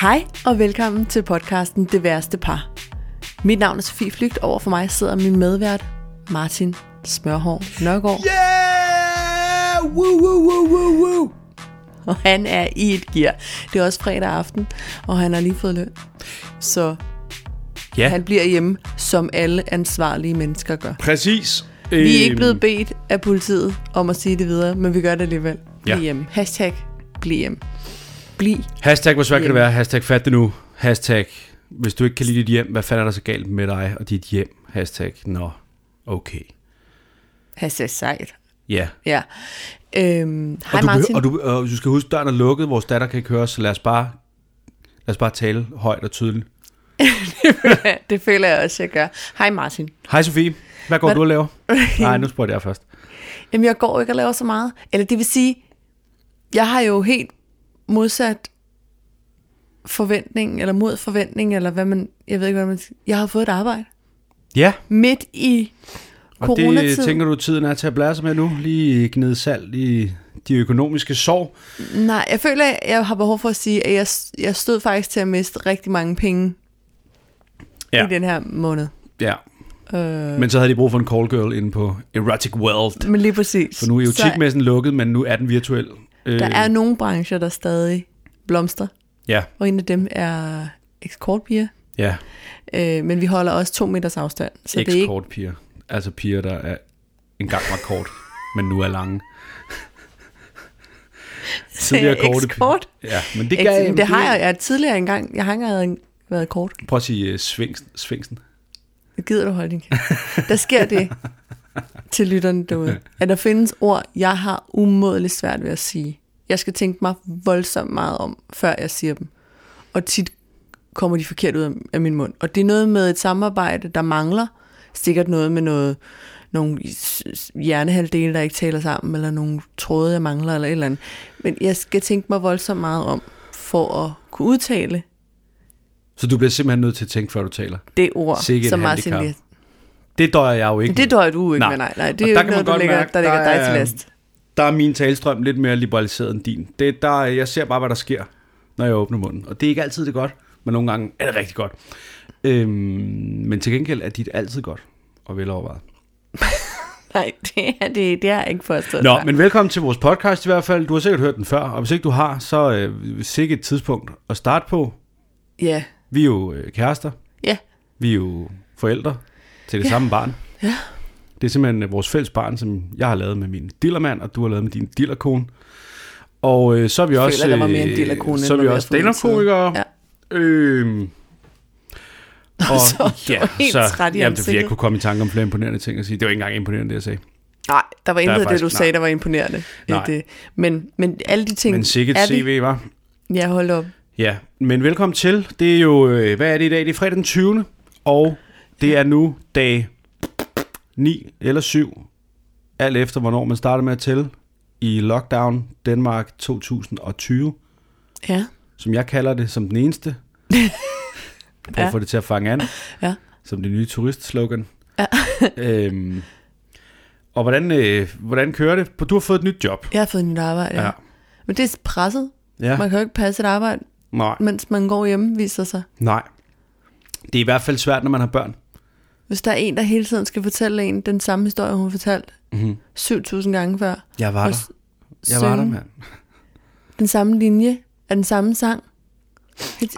Hej og velkommen til podcasten Det værste par. Mit navn er Sofie Flygt, over for mig sidder min medvært Martin Smørhår Nørgaard, Yeah! Woo, woo, woo, woo, woo. og han er i et gear. Det er også fredag aften, og han har lige fået løn. Så Ja. han bliver hjemme, som alle ansvarlige mennesker gør. Præcis. Vi er ikke Øhm. blevet bedt af politiet om at sige det videre, men vi gør det alligevel. Bliv Ja. hjemme. Hashtag bliv hjemme. Bliv. Hashtag, hvor svært kan det være? Hashtag, fat det nu. Hashtag, hvis du ikke kan lide dit hjem, hvad fanden er der så galt med dig og dit hjem? Hashtag, nå, okay. Hashtag sejt. Ja. Ja. Øhm, hej og, du, Martin. behøver- og, du, og du skal huske, døren er lukket, vores datter kan ikke høre, os, så lad os bare, lad os bare tale højt og tydeligt. det føler jeg også, jeg gør. Hej Martin. Hej Sofie, hvad går Hvad- du og laver? Nej, nu spurgte jeg først. Jamen, jeg går ikke og laver så meget. Eller det vil sige, jeg har jo helt modsat forventning, eller mod forventning, eller hvad man, jeg ved ikke, hvad man siger. Jeg har fået et arbejde Ja, midt i og coronatid. det tænker du, tiden er til at blære sig med nu. Lige gnide salt i de økonomiske sår. Nej, jeg føler, at jeg har behov for at sige, at jeg, jeg stod faktisk til at miste rigtig mange penge ja. i den her måned. Ja. Mm. Øh... Men så havde de brug for en call girl inde på Erotic World. Men lige præcis. For nu er Så erotikmessen lukket, men nu er den virtuel. Øh, Der er nogle brancher, der stadig blomstrer, Ja, og en af dem er eksportbier. ja. Øh, men vi holder også to meters afstand, så det er ikke Ekskort piger. Altså piger, der er engang var kort, men nu er lange. Tidligere korte piger. Ekskort? Ja, men det, gav, Ikke, det har jeg, jeg tidligere engang. Jeg har ikke engang været kort. Prøv at sige uh, svingsen, svingsen. Det gider du holde din kæft. Der sker det til lytterne derude, at der findes ord, jeg har umådeligt svært ved at sige. Jeg skal tænke mig voldsomt meget om, før jeg siger dem. Og tit kommer de forkert ud af, af min mund. Og det er noget med et samarbejde, der mangler. Sikkert noget med noget, nogle s- s- hjernehalvdele, der ikke taler sammen, eller nogle tråde, jeg mangler, eller et eller andet. Men jeg skal tænke mig voldsomt meget om, for at kunne udtale Så du bliver simpelthen nødt til at tænke, før du taler. det ord, Sikke et som Martin handicap. lige Det døjer jeg jo ikke. Det døjer du ikke Nej. nej. med, nej. nej det er Og jo der ikke kan man noget, der godt ligger, mærke, der ligger der dig er- til last. der er min talestrøm lidt mere liberaliseret end din. Det, der, jeg ser bare, hvad der sker, når jeg åbner munden. Og det er ikke altid det godt, men nogle gange er det rigtig godt. Øhm, men til gengæld er dit altid godt og velovervejet. Nej, det er, det, det er ikke forstået. Nå, Nej. men velkommen til vores podcast i hvert fald. Du har sikkert hørt den før, og hvis ikke du har, så øh, sikkert et tidspunkt at starte på. Ja, Vi er jo øh, kærester, ja, vi er jo forældre til det ja. samme barn. Ja. Det er simpelthen øh, vores fælles barn, som jeg har lavet med min dillermand, og du har lavet med din dillerkone. Og øh, så er vi jeg også... føler, der var mere en øh, del af kronen. Så er vi også stand-up-komikere. Ja. Øhm, og, så er du helt træt i jamen, det er fordi, jeg ansigtet. kunne komme i tanke om flere imponerende ting at sige. Det var ikke engang imponerende, det jeg sagde. Nej, der var intet af det, faktisk- du nej. sagde, der var imponerende. Nej. Et, øh, men, men alle de ting... Men sikkert er det- CV, var. Ja, hold op. Ja, men velkommen til. Det er jo, øh, hvad er det i dag? Det er fredag den 20. Og det er nu dag 9 eller 7, alt efter hvornår man starter med at tælle, i lockdown Danmark 2020, Ja, som jeg kalder det som den eneste. Prøv at Ja. få det til at fange an, ja. som det nye turistslogan. øhm, og hvordan, øh, hvordan kører det? Du har fået et nyt job. Jeg har fået nyt arbejde. Ja. Men det er presset. ja. Man kan jo ikke passe et arbejde, Nej. mens man går hjemme, viser sig. Nej. Det er i hvert fald svært, når man har børn. Hvis der er en, der hele tiden skal fortælle en den samme historie, hun fortalte Mhm. 7.000 gange før. Jeg var Og der. s- Jeg var der, synge mand. Den samme linje af den samme sang.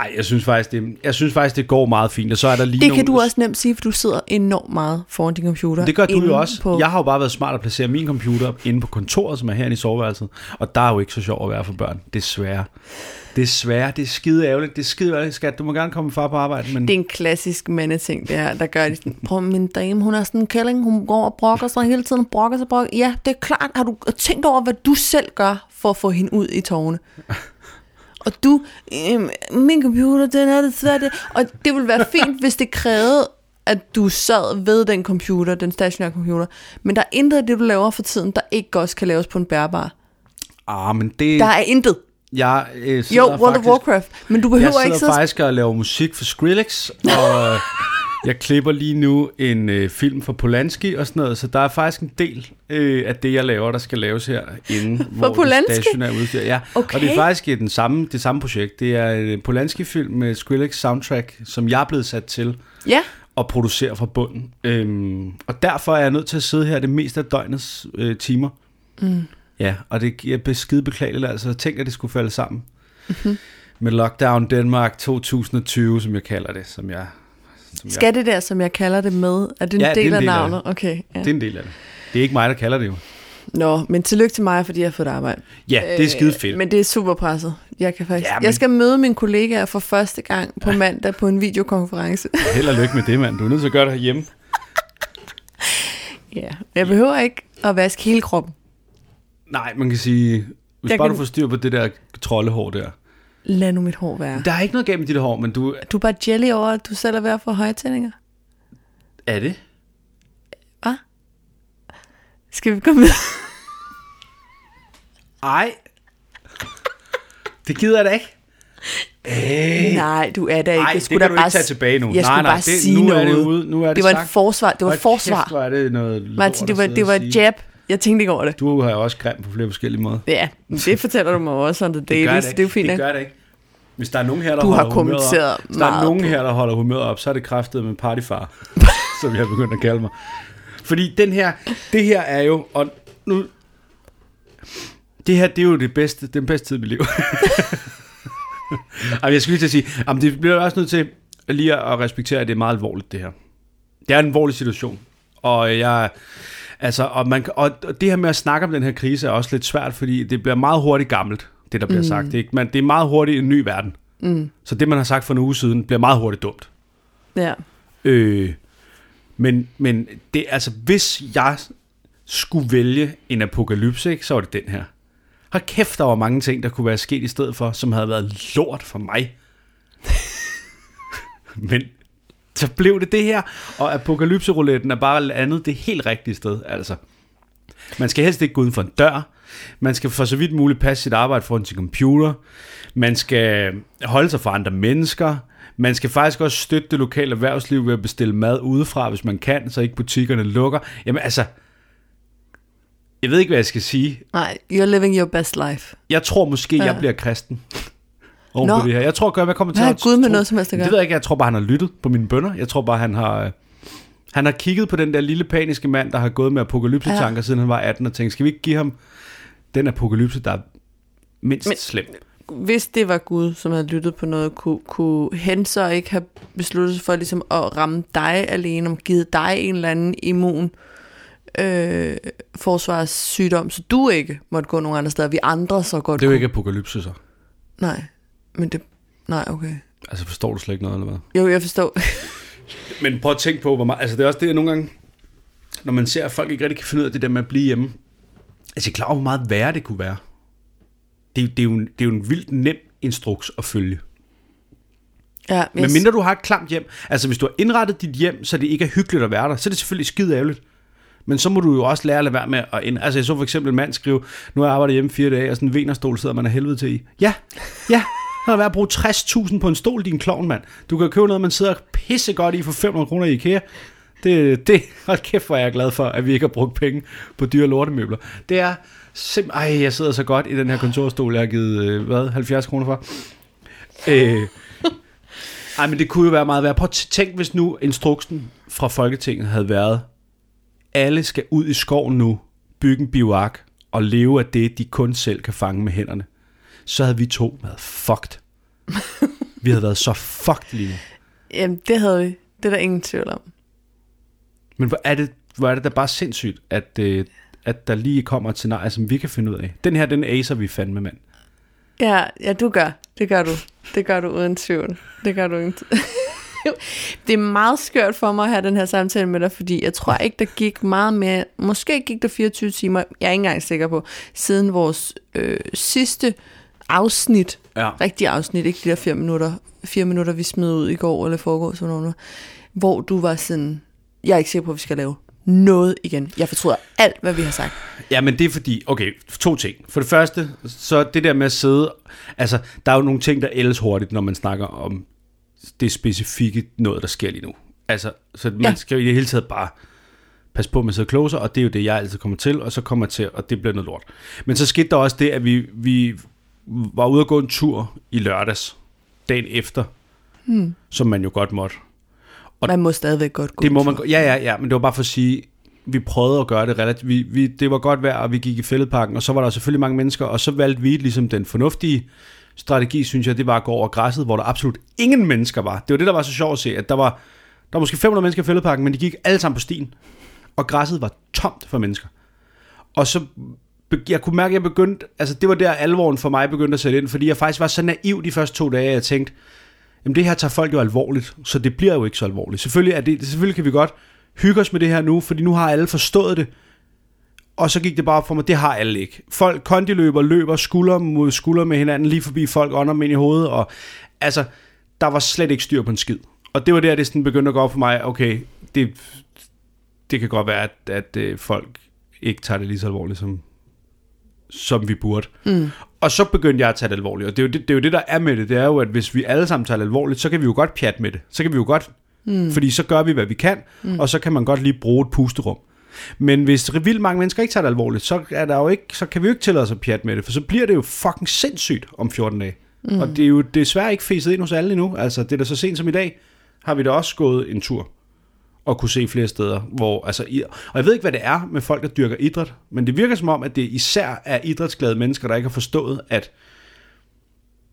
Ej, jeg synes faktisk, det, jeg synes faktisk, det går meget fint. Og så er der lige Det nogle, kan du også nemt sige, for du sidder enormt meget foran din computer. Det gør du inde jo også. På, På... Jeg har jo bare været smart at placere min computer inde på kontoret, som er herinde i soveværelset. Og der er jo ikke så sjov at være for børn. Desværre. Desværre. Det er skide ærgerligt. Det er skide ærgerligt, skat. Du må gerne komme med far på arbejde, men Det er en klassisk mandeting, det her, der gør det sådan, prøv min dame, hun er sådan en kælling, hun går og brokker sig hele tiden, brokker sig, brokker. Ja, det er klart, har du tænkt over, hvad du selv gør for at få hende ud i tårne? Og du, øhm, min computer, den er desværre det. Og det ville være fint, hvis det krævede, at du sad ved den computer, den stationære computer. Men der er intet af det, du laver for tiden, der ikke også kan laves på en bærbar. ah, men det... Der er intet. Jeg øh, Jo, sidder World of faktisk... Warcraft. Men du Jeg behøver ikke sidder sidde og faktisk og laver musik for Skrillex, og Jeg klipper lige nu en øh, film fra Polanski og sådan noget, så der er faktisk en del øh, af det, jeg laver, der skal laves her inden. Fra Polanski? Det stationære udstyr. Ja. Okay. Og det er faktisk øh, den samme, det samme projekt. Det er en Polanski-film med Skrillex soundtrack, som jeg er blevet sat til Ja, at producere fra bunden. Øhm, og derfor er jeg nødt til at sidde her det meste af døgnets øh, timer. Mm. Ja, og det er be- skide beklageligt. Altså, jeg tænkte, at det skulle falde sammen. Mm-hmm. Med Lockdown Danmark 2020, som jeg kalder det. Som jeg, som jeg skal det der, som jeg kalder det med, er det en Ja, det er del en af del af navnet? Okay, ja. Det er en del af det. Det er ikke mig, der kalder det jo. Nå, men tillykke til mig, fordi jeg har fået arbejde. Ja, det er skide fedt. Øh, Men det er super presset. Jeg, kan faktisk... Ja, ja, men- men... jeg skal møde mine kollegaer for første gang på mandag på en videokonference. Held og lykke med det, mand. Du er nødt til at gøre det herhjemme. ja. Jeg behøver ikke at vaske hele kroppen. Nej, man kan sige, hvis Jeg bare kan- du får styr på det der troldehår der. Lad nu mit hår være. Der er ikke noget galt med dit hår, men du... Du er bare jelly over, at du selv er ved at få højtændinger. Er det? Hvad? Skal vi komme videre? Ej. Det gider jeg da ikke. Æh. Nej, du er der ikke. Ej, Jeg Øh. det skulle kan da du bare ikke tage s- tilbage nu. Jeg Nej, skulle nej, bare det- sige nu er noget. det ude. Nu er det det var et sagt. forsvar. Det var et Hold forsvar. Kæft, hvor er det noget lort, Martin, det at var, sidde det og var sige. jab. Jeg tænkte ikke over det. Du har jo også grim på flere forskellige måder. Ja, men det fortæller du mig også on the daily, det, det så det ikke. er jo fint. Det nok. gør det ikke. Hvis der er nogen her, der Du har holder humøret kommenteret op, hvis der er meget nogen på- her, der holder humøret op, så er det kræftet med partyfar, som jeg begynder at kalde mig. Fordi den her, det her er jo, og nu, det her, det er jo det bedste, den bedste tid i mit liv. Jamen, jeg skulle lige til at sige, jamen, det bliver jeg også nødt til lige at respektere, at det er meget alvorligt, det her. Det er en alvorlig situation. Og jeg, altså, og, man, kan- og og det her med at snakke om den her krise er også lidt svært, fordi det bliver meget hurtigt gammelt, det der bliver mm. sagt. Det, er ikke, man, det er meget hurtigt en ny verden. Mm. Så det, man har sagt for en uge siden, bliver meget hurtigt dumt. Ja. Øh, men, men det, altså, hvis jeg skulle vælge en apokalypse, ikke, så var det den her. Hold kæft, der var mange ting, der kunne være sket i stedet for, som havde været lort for mig. men så blev det det her, og apokalypserouletten er bare landet det helt rigtige sted, altså. Man skal helst ikke gå uden for en dør. Man skal for så vidt muligt passe sit arbejde foran sin computer. Man skal holde sig fra andre mennesker. Man skal faktisk også støtte det lokale erhvervsliv ved at bestille mad udefra, hvis man kan, så ikke butikkerne lukker. Jamen altså, jeg ved ikke, hvad jeg skal sige. Nej, you're living your best life. Jeg tror måske, ja. jeg Ja. bliver kristen. Oven Nå. på det her. Jeg tror, godt, jeg kommer til Hvad har at... Gud med tro- noget som helst at Men Det gøre? ved jeg ikke. Jeg tror bare, han har lyttet på mine bønder. Jeg tror bare, han har... øh, Han har kigget på den der lille paniske mand, der har gået med apokalypse-tanker, ja. siden han var 18, og tænkt, skal vi ikke give ham den apokalypse, der er mindst Men... Men- slem? Hvis det var Gud, som havde lyttet på noget, kunne, kunne han så ikke have besluttet sig for ligesom at ramme dig alene, om givet dig en eller anden immun øh, forsvarssygdom, så du ikke måtte gå nogen andre steder, vi andre så godt Det er jo kunne. ikke apokalypse, så. Nej, men det... Nej, okay. Altså, forstår du slet ikke noget, eller hvad? Jo, jeg forstår. Men prøv at tænke på, hvor meget... Altså, det er også det, jeg nogle gange... Når man ser, at folk ikke rigtig kan finde ud af det der med at blive hjemme. Altså, jeg er klar over, hvor meget værre det kunne være. Det, er jo- det, er, jo en, det er jo en vildt nem instruks at følge. Ja, Men mindre du har et klamt hjem, altså hvis du har indrettet dit hjem, så det ikke er hyggeligt at være der, så er det selvfølgelig skide ærgerligt. Men så må du jo også lære at lade være med at ind... Altså jeg så for eksempel en mand skrive, nu har jeg arbejdet hjemme fire dage, og sådan en venerstol sidder man af helvede til i. Ja, ja. Han har været at bruge 60.000 på en stol, din klovn, mand. Du kan købe noget, man sidder pisse godt i for 500 kroner i IKEA. Det, det, hold kæft, hvor er jeg glad for, at vi ikke har brugt penge på dyre lortemøbler. Det er simpelthen... Ej, jeg sidder så godt i den her kontorstol, jeg har givet, øh, hvad, 70 kroner for. Øh, ej, men det kunne jo være meget værre. Prøv at tænk, hvis nu instruksen fra Folketinget havde været, alle skal ud i skoven nu, bygge en bioark og leve af det, de kun selv kan fange med hænderne. Så havde vi to været fucked. Vi havde været så fucked lige nu. Jamen, det havde vi. Det er der ingen tvivl om. Men hvor er det, hvor er det da bare sindssygt, at, øh, at der lige kommer et scenarie, som vi kan finde ud af. Den her, den acer vi fandme, mand. Ja, ja, du gør. Det gør du. Det gør du uden tvivl. Det gør du uden tvivl. Det er meget skørt for mig at have den her samtale med dig, fordi jeg tror ikke, der gik meget mere, måske gik der 24 timer, jeg er ikke engang sikker på, siden vores øh, sidste afsnit, Ja. rigtig afsnit, ikke de der fire minutter, fire minutter, vi smed ud i går eller foregårs, eller noget, hvor du var sådan, jeg er ikke sikker på, at vi skal lave noget igen. Jeg fortryder alt, hvad vi har sagt. Ja, men det er fordi, okay, to ting. For det første, så det der med at sidde, altså, der er jo nogle ting, der ældes hurtigt, når man snakker om det specifikke noget, der sker lige nu. Altså, så man Ja. ja. skal jo i det hele taget bare passe på med at sidde closer, og det er jo det, jeg altid kommer til, og så kommer jeg til, og det bliver noget lort. Men så skete der også det, at vi, vi var ude at gå en tur i lørdags, dagen efter, hmm. som man jo godt måtte. Og- Man må stadigvæk godt gå Det må man, en tur. go- ja, ja, ja, men det var bare for at sige, vi prøvede at gøre det relativt, vi, vi, det var godt vejr, og vi gik i fældeparken, og så var der selvfølgelig mange mennesker, og så valgte vi ligesom den fornuftige strategi, synes jeg, det var at gå over græsset, hvor der absolut ingen mennesker var. Det var det, der var så sjovt at se, at der var, der var måske 500 mennesker i fældeparken, men de gik alle sammen på stien, og græsset var tomt for mennesker. Og så be- jeg kunne mærke, at jeg begyndte, altså det var der alvoren for mig begyndte at sætte ind, fordi jeg faktisk var så naiv de første to dage, at jeg tænkte, jamen det her tager folk jo alvorligt, så det bliver jo ikke så alvorligt. Selvfølgelig, er det, selvfølgelig kan vi godt hygge os med det her nu, fordi nu har alle forstået det, og så gik det bare op for mig, det har alle ikke. Folk kondiløber, løber skulder mod skulder med hinanden, lige forbi folk ånder dem ind i hovedet, og altså, der var slet ikke styr på en skid. Og det var der, det sådan begyndte at gå op for mig, okay, det, det kan godt være, at, at øh, folk ikke tager det lige så alvorligt, som, som vi burde. Mm. Og så begyndte jeg at tage det alvorligt, og det er, jo det, det er jo det, der er med det, det er jo, at hvis vi alle sammen tager det alvorligt, så kan vi jo godt pjat med det. Så kan vi jo godt, mm. fordi så gør vi, hvad vi kan, mm. og så kan man godt lige bruge et pusterum. Men hvis vildt mange mennesker ikke tager det alvorligt, så, er der jo ikke, så kan vi jo ikke tillade os at pjat med det, for så bliver det jo fucking sindssygt om 14 dage. Mm. Og det er jo desværre ikke fæset ind hos alle endnu. Altså, det er da så sent som i dag, har vi da også gået en tur og kunne se flere steder, hvor, altså, i- og jeg ved ikke, hvad det er med folk, der dyrker idræt, men det virker som om, at det især er idrætsglade mennesker, der ikke har forstået, at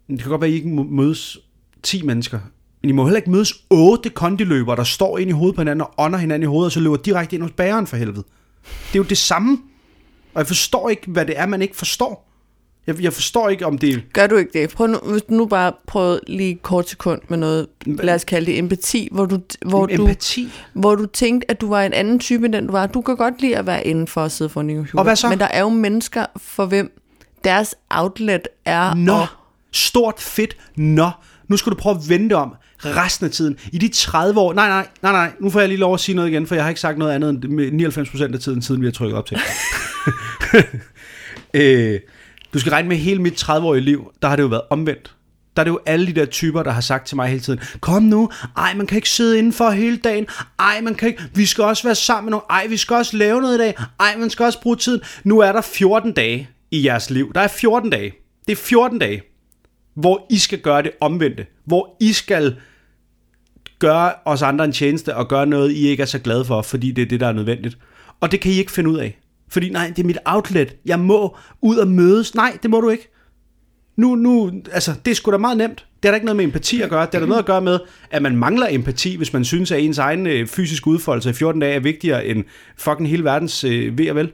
det kan godt være, at I ikke må mødes 10 mennesker, men I må heller ikke mødes 8 kondiløbere, der står ind i hovedet på hinanden og ånder hinanden i hovedet, og så løber direkte ind hos bageren for helvede. Det er jo det samme, og jeg forstår ikke, hvad det er, man ikke forstår. Jeg, jeg forstår ikke, om det er... Gør du ikke det? Prøv nu, hvis du nu bare prøver lige et kort sekund med noget, lad os kalde det empati, hvor du, hvor du, empati. hvor du tænkte, at du var en anden type, end den du var. Du kan godt lide at være indenfor og sidde foran din computer. Og hvad så? Men der er jo mennesker, for hvem deres outlet er Nå, at stort fedt, nå. Nu skal du prøve at vente om resten af tiden. I de 30 år, nej, nej, nej, nej, nu får jeg lige lov at sige noget igen, for jeg har ikke sagt noget andet end med 99% af tiden, siden vi har trykket op til. øh, du skal regne med hele mit 30-årige liv, der har det jo været omvendt. Der er det jo alle de der typer, der har sagt til mig hele tiden, kom nu, ej, man kan ikke sidde indenfor hele dagen, ej, man kan ikke, vi skal også være sammen med nogen, ej, vi skal også lave noget i dag, ej, man skal også bruge tiden. Nu er der 14 dage i jeres liv. Der er 14 dage. Det er 14 dage, hvor I skal gøre det omvendte. Hvor I skal gøre os andre en tjeneste og gøre noget, I ikke er så glade for, fordi det er det, der er nødvendigt. Og det kan I ikke finde ud af. Fordi nej, det er mit outlet. Jeg må ud og mødes. Nej, det må du ikke. Nu, nu, altså, det er sgu da meget nemt. Det er da ikke noget med empati at gøre. Det er da noget at gøre med, at man mangler empati, hvis man synes, at ens egen øh, fysiske udfoldelse i 14 dage er vigtigere end fucking hele verdens øh, ved og vel.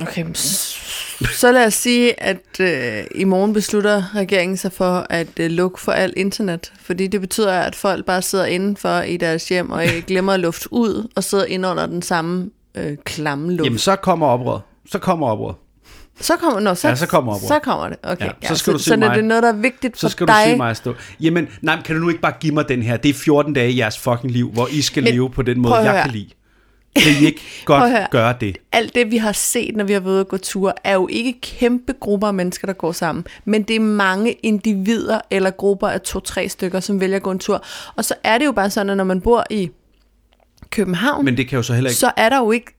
Okay, men s- så lad os sige, at øh, i morgen beslutter regeringen sig for at øh, lukke for alt internet, fordi det betyder, at folk bare sidder indenfor i deres hjem og øh, glemmer at lufte ud og sidder ind under den samme øh, klamme luft. Jamen, Jamen. så kommer oprøret. Så kommer oprøret. Så kommer, nå, så, Ja, så kommer oprør. så kommer det. Okay, Ja, så skal du så, se så når mig. det er noget, der er vigtigt Så for skal dig. du se mig at stå. Jamen, nej, men kan du nu ikke bare give mig den her? Det er 14 dage i jeres fucking liv, hvor I skal Men men, leve på den prøv måde, at jeg høre. kan lide. Kan I ikke Prøv at høre. godt gøre det? alt det, vi har set, når vi har været ude at gå ture, er jo ikke kæmpe grupper af mennesker, der går sammen, men det er mange individer eller grupper af to-tre stykker, som vælger at gå en tur. Og så er det jo bare sådan, at når man bor i København, men Men det kan jo så heller ikke... så er der jo ikke...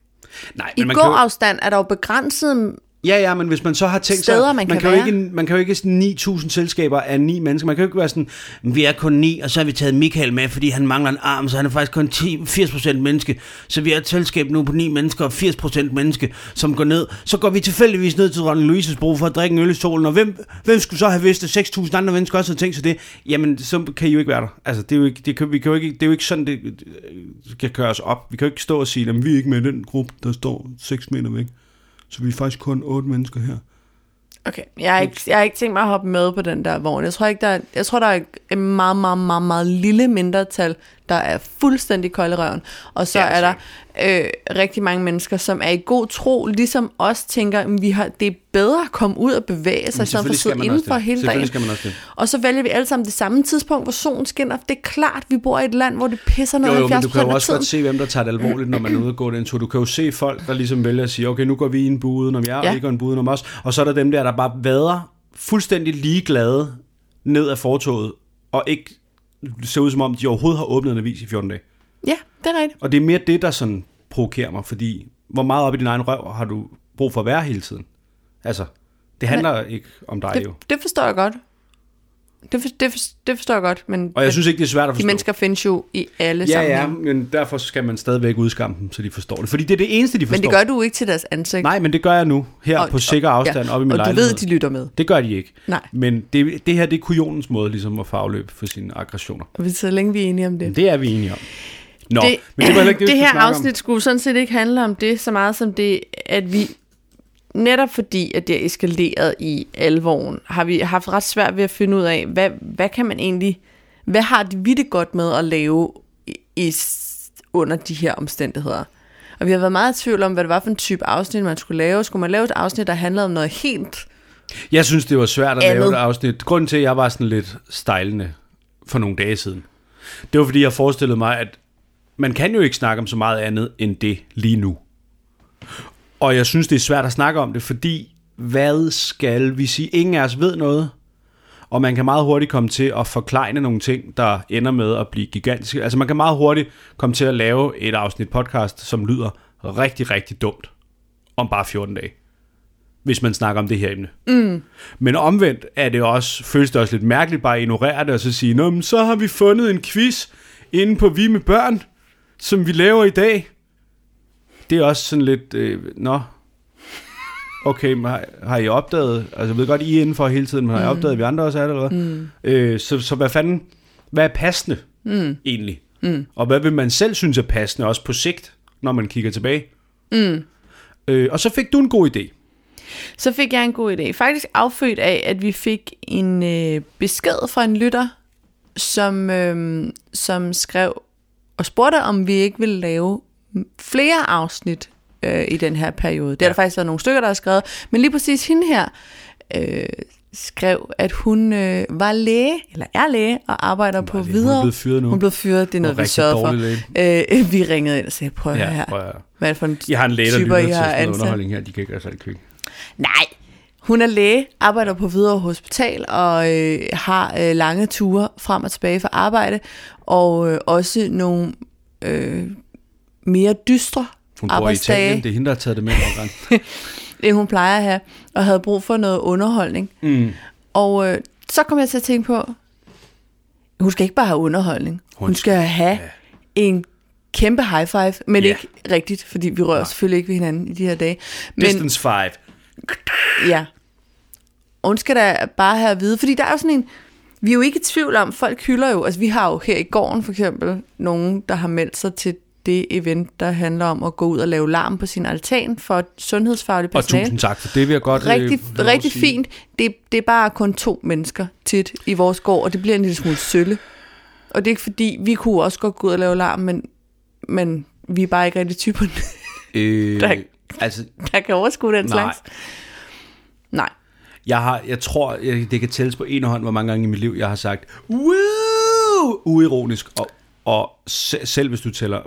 nej, I men man kan jo, gåafstand er der jo begrænset... ja, ja, men hvis man så har tænkt sig... steder, man kan kan jo være. ikke, man kan jo ikke sådan 9.000 selskaber af 9 mennesker. Man kan jo ikke være sådan, vi er kun 9, og så har vi taget Michael med, fordi han mangler en arm, så han er faktisk kun 10, 80% menneske. Så vi er et selskab nu på 9 mennesker og 80% menneske, som går ned. Så går vi tilfældigvis ned til Ronald Louises bro for at drikke en øl i solen, og hvem, hvem skulle så have vidst, at 6.000 andre mennesker også havde tænkt sig det? Jamen, så kan I jo ikke være der. Altså, det er jo ikke, det kan, vi kan jo ikke, det er jo ikke sådan, det øh, skal køres op. Vi kan jo ikke stå og sige, at vi er ikke med i den gruppe, der står 6 meter væk. Så vi er faktisk kun 8 mennesker her. Okay, jeg har, ikke, jeg har ikke tænkt mig at hoppe med på den der vogn. Jeg tror, ikke, der er, jeg tror, der er et meget, meget, meget, meget lille mindretal, der er fuldstændig kold i røven. Og så Ja, er der øh, rigtig mange mennesker, som er i god tro, ligesom os tænker, at vi har, det er bedre at komme ud og bevæge sig, i stedet for at sidde indenfor hele dagen. man også det. Og så vælger vi alle sammen det samme tidspunkt, hvor solen skinner. Det er klart, vi bor i et land, hvor det pisser noget Jo, jo, men 70 du kan jo procent af også tiden. godt se, hvem der tager det alvorligt, når man er ude og gå den tur. Du kan jo se folk, der ligesom vælger at sige, okay, nu går vi i en bue udenom jer, Ja. ja. og I går en bue udenom os. Og så er der dem der, der bare vader fuldstændig ligeglade ned ad fortoget, og ikke ser ud som om, de overhovedet har åbnet en avis i 14 dage. Ja, det er rigtigt. Og det er mere det, der sådan provokerer mig, fordi hvor meget op i din egen røv har du brug for at være hele tiden? Altså, det handler men, ikke om dig det, jo. Det, det forstår jeg godt. Det, for, det, for, det forstår jeg godt, men Og jeg synes ikke, det er svært at de forstå. mennesker findes jo i alle ja, ja, sammenhænge. men derfor skal man stadigvæk udskamme dem, så de forstår det. Fordi det er det eneste, de forstår. Men det gør du ikke til deres ansigt. Nej, men det gør jeg nu, her og, på sikker afstand, ja, op i min Og lejlighed. du ved, de lytter med. Det gør de ikke. Nej. Men det, det her, det er kujonens måde ligesom at få afløb for sine aggressioner. Og vi- Så længe vi er enige om det. Men det er vi enige om. Nå, det, men det var heller ikke det, det vi her skulle snakke afsnit skulle sådan set ikke handle om det så meget som det, at vi netop fordi, at det er eskaleret i alvoren, har vi haft ret svært ved at finde ud af, hvad, hvad kan man egentlig, hvad har de vi det godt med at lave i, i, s- under de her omstændigheder? Og vi har været meget i tvivl om, hvad det var for en type afsnit, man skulle lave. Skulle man lave et afsnit, der handlede om noget helt om. Jeg synes, det var svært at lave Andet. et afsnit. Grunden til, at jeg var sådan lidt stejlende for nogle dage siden, det var, fordi jeg forestillede mig, at man kan jo ikke snakke om så meget andet end det lige nu. Og jeg synes, det er svært at snakke om det, fordi hvad skal vi sige? Ingen af os ved noget, og man kan meget hurtigt komme til at forklejne nogle ting, der ender med at blive gigantiske. Altså man kan meget hurtigt komme til at lave et afsnit podcast, som lyder rigtig, rigtig dumt om bare 14 dage, hvis man snakker om det her emne. Mm. Men omvendt er det også, føles det også lidt mærkeligt bare at ignorere det og så sige, Nå, men så har vi fundet en quiz inde på Vi med Børn, som vi laver i dag. Det er også sådan lidt, øh, nå, okay, men har, har I opdaget, altså jeg ved godt, I er indenfor hele tiden, men har I opdaget, at vi andre også er det, eller hvad? Mm. Øh, så, så hvad fanden, hvad er passende mm. egentlig? Mm. Og hvad vil man selv synes er passende, også på sigt, når man kigger tilbage? Mm. Øh, og så fik du en god idé. Så fik jeg en god idé. Faktisk affødt af, at vi fik en øh, besked fra en lytter, som, øh, som skrev og spurgte, om vi ikke ville lave flere afsnit øh, i den her periode. Det har der faktisk været nogle stykker, der har skrevet. Men lige præcis hende her øh, skrev, at hun øh, var læge, eller er læge, og arbejder på læge. Hun er videre. blevet fyret nu. Hun blev fyret, det er noget, vi rigtig sørgede for. dårlig Øh, vi ringede ind og sagde, prøv at Ja, høre her. prøv at høre. Hvad er det for en Jeg har en læge, der typer, lytter I til har sådan noget ansat? underholdning her, de kan ikke gøre sig i køkken. Nej. Hun er læge, arbejder på Hvidovre Hospital og øh, har øh, lange ture frem og tilbage fra arbejde, og øh, også nogle øh, mere dystre Hun bor i arbejdsdage, Italien, det er hende, der har taget det med nogle gange. end hun plejer at have, og havde brug for noget underholdning. Mm. Og øh, så kom jeg til at tænke på, hun skal ikke bare have underholdning, hun, hun skal have ja. en kæmpe high five, men Ja. ikke rigtigt, fordi vi rører selvfølgelig ikke ved hinanden i de her dage. Men, Distance 5. Ja. Og hun skal da bare have at vide, fordi der er jo sådan en... Vi er jo ikke i tvivl om, folk hylder jo... Altså, vi har jo her i gården for eksempel nogen, der har meldt sig til det event, der handler om at gå ud og lave larm på sin altan for sundhedsfaglig Og personale. tusind tak for det, vil jeg godt øh, rigtig, have lov øh, at rigtig sige. fint. Det, det er bare kun to mennesker tit i vores gård, og det bliver en lille smule sølle. Og det er ikke fordi, vi kunne også godt gå ud og lave larm, men, men vi er bare ikke rigtig typerne, Øh, Der- altså, der kan overskue den nej. slags. Nej. Jeg, har, jeg tror, jeg, det kan tælles på en hånd, hvor mange gange i mit liv, jeg har sagt, wow, uironisk, og, og se, selv hvis du tæller,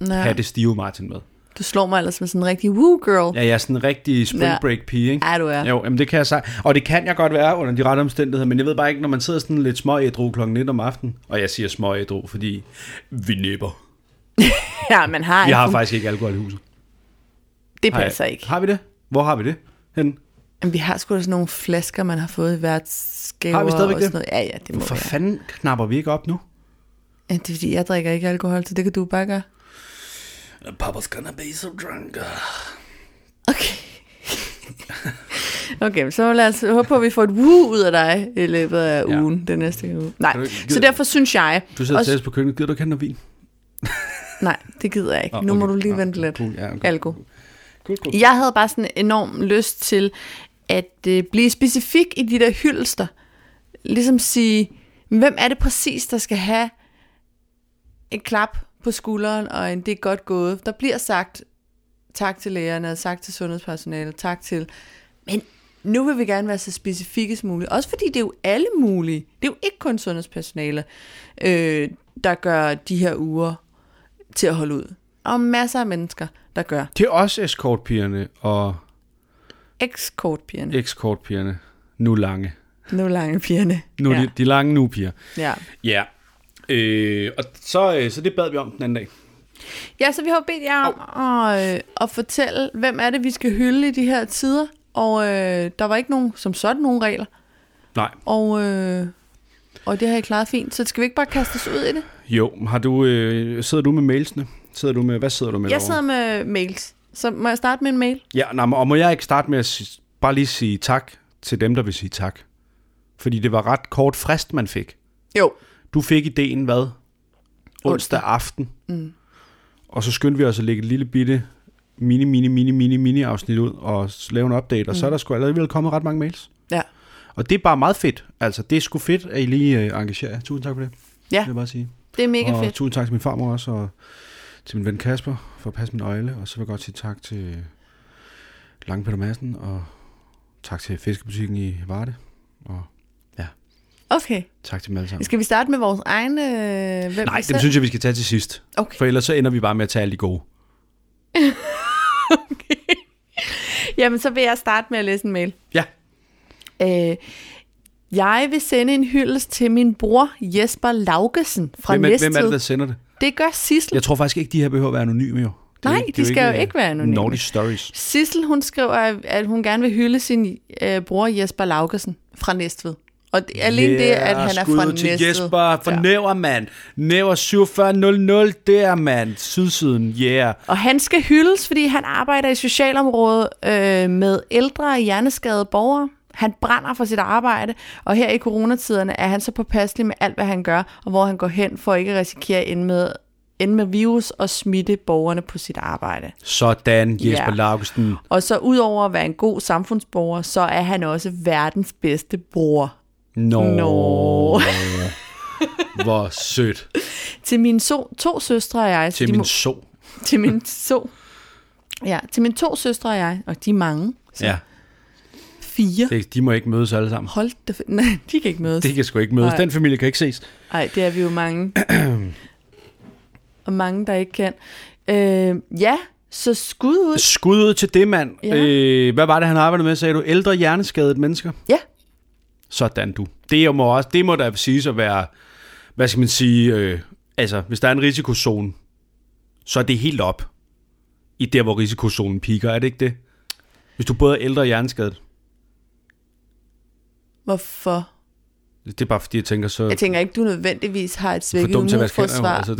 Nej. have det stive Martin med. Du slår mig ellers som sådan en rigtig woo girl. Ja, jeg er sådan en rigtig Ja. spring break pige, ikke? Ja, du er. Jo, jamen det kan jeg sige. Og det kan jeg godt være under de rette omstændigheder, men jeg ved bare ikke, når man sidder sådan lidt småædru kl. 19 om aftenen, og jeg siger småædru, fordi vi nipper. Ja, man har, Vi har en- faktisk ikke alkohol i huset. Det Har jeg- passer ikke. Har vi det? Hvor har vi det? Hen? Men vi har sgu da sådan nogle flasker, man har fået i værtsgaver. Har vi stadigvæk og sådan det? Noget. Ja, ja, det må For være. fanden knapper vi ikke op nu? Ja, det er fordi, jeg drikker ikke alkohol, så det kan du bare gøre. Papa's gonna be so drunk. Okay. okay, men så lad os håbe på, at vi får et woo ud af dig i løbet af Ja. ugen, den næste uge. Nej, Kan du ikke- så derfor synes jeg... Du sidder også- til på køkkenet. Gider du ikke have noget vin? Nej, det gider jeg ikke. Nå, Nu må okay. du lige Nå, vente okay, lidt. cool. Ja, okay. Alko. Cool, cool. Jeg havde bare sådan en enorm lyst til at øh, blive specifik i de der hyldester. Ligesom sige, hvem er det præcis, der skal have et klap på skulderen og en det er godt gået. Der bliver sagt tak til lægerne, og tak til sundhedspersonalet, tak til... Men nu vil vi gerne være så specifikke som muligt. Også fordi det er jo alle mulige. Det er jo ikke kun sundhedspersonale, øh, der gør de her uger til at holde ud. Og masser af mennesker, der gør. Det er også escortpigerne og Ekskortpigerne. escortpigerne. Nu lange. Nu er lange pigerne. Nu ja. ja. de, de lange nu piger. Ja. Ja. Øh, og så, øh, så det bad vi om den anden dag. Ja, så vi har jo bedt jer om at, øh, at fortælle, hvem er det, vi skal hylde i de her tider. Og øh, der var ikke nogen, som sådan nogen regler. Nej. Og, øh, og det har I klaret fint. Så skal vi ikke bare kaste os ud i det? Jo, har du, øh, sidder du med mailsene? Sidder du med, hvad sidder du med Jeg derovre? sidder med mails. Så må jeg starte med en mail? Ja, nej, men- og må jeg ikke starte med at si- bare lige sige tak til dem, der vil sige tak? Fordi det var ret kort frist, man fik. Jo. Du fik ideen, hvad? Onsdag aften. Mm. Og så skyndte vi os at lægge et lille bitte mini, mini, mini, mini, mini afsnit ud og s- lave en update, og så er der sgu alligevel kommet ret mange mails. Ja. Og det er bare meget fedt. Altså, det er sgu fedt, at I lige øh, engagerer jer. Tusind tak for det, Ja, vil jeg bare sige. det er mega og fedt. tusind tak til min farmor også, og til min ven Kasper for at passe min øjle. Og så vil jeg godt sige tak til Lange Peter Madsen, og tak til Fiskebutikken i Varde. Og Okay, tak til dem alle sammen. skal vi starte med vores egne... Øh, hvem Nej, vi dem selv- synes jeg, vi skal tage til sidst. Okay. For ellers så ender vi bare med at tage alle de gode. Jamen, så vil jeg starte med at læse en mail. Ja. Øh, jeg vil sende en hyldest til min bror Jesper Laugesen fra Hvem er, Næstved. hvem er det, der sender det? Det gør Sissel. Jeg tror faktisk ikke, de her behøver at være anonyme, jo. Det er Nej, det de er skal jo ikke være anonyme. Naughty stories. Sissel, hun skriver, at- at hun gerne vil hylde sin øh, bror Jesper Laugesen fra Næstved. Og det, alene det, Yeah, at han er skud fra ud til Næstved. Jesper fra ja. Næver, mand. Næver 4700, der, mand. Sydsiden, yeah. Og han skal hyldes, fordi han arbejder i socialområdet øh, med ældre og hjerneskadede borgere. Han brænder for sit arbejde, og her i coronatiderne er han så påpasselig med alt, hvad han gør, og hvor han går hen for ikke at risikere at ende med, ende med virus og smitte borgerne på sit arbejde. Sådan, Jesper Ja. yeah. Laugesen. Og så udover at være en god samfundsborger, så er han også verdens bedste bror. Nå. Nå. Hvor sødt. Til mine so- to søstre og jeg... så Til de min må- so. til mine to... Ja, til mine to søstre og jeg, og de er mange. Så Ja, fire. det, de må ikke mødes alle sammen. Hold da... f- Nej, de kan ikke mødes. De kan sgu ikke mødes. Nej. Den familie kan ikke ses. Nej, det er vi jo mange. og mange, der ikke kan. Øh, ja, så skud ud. Skud ud til det, mand. Ja. Ja. Øh, hvad var det, han arbejdede med, sagde du? Ældre hjerneskadede mennesker? Ja, Sådan du. Det må, også, det må da siges at være, hvad skal man sige, øh, altså hvis der er en risikozone, så er det helt op i der, hvor risikozonen piker. Er det ikke det? Hvis du både er ældre og hjerneskadet. hvorfor? Det er bare fordi, jeg tænker, så Jeg tænker ikke, du nødvendigvis har et for svækket dumt til at vaske hænder. jo. immunforsvar, Altså,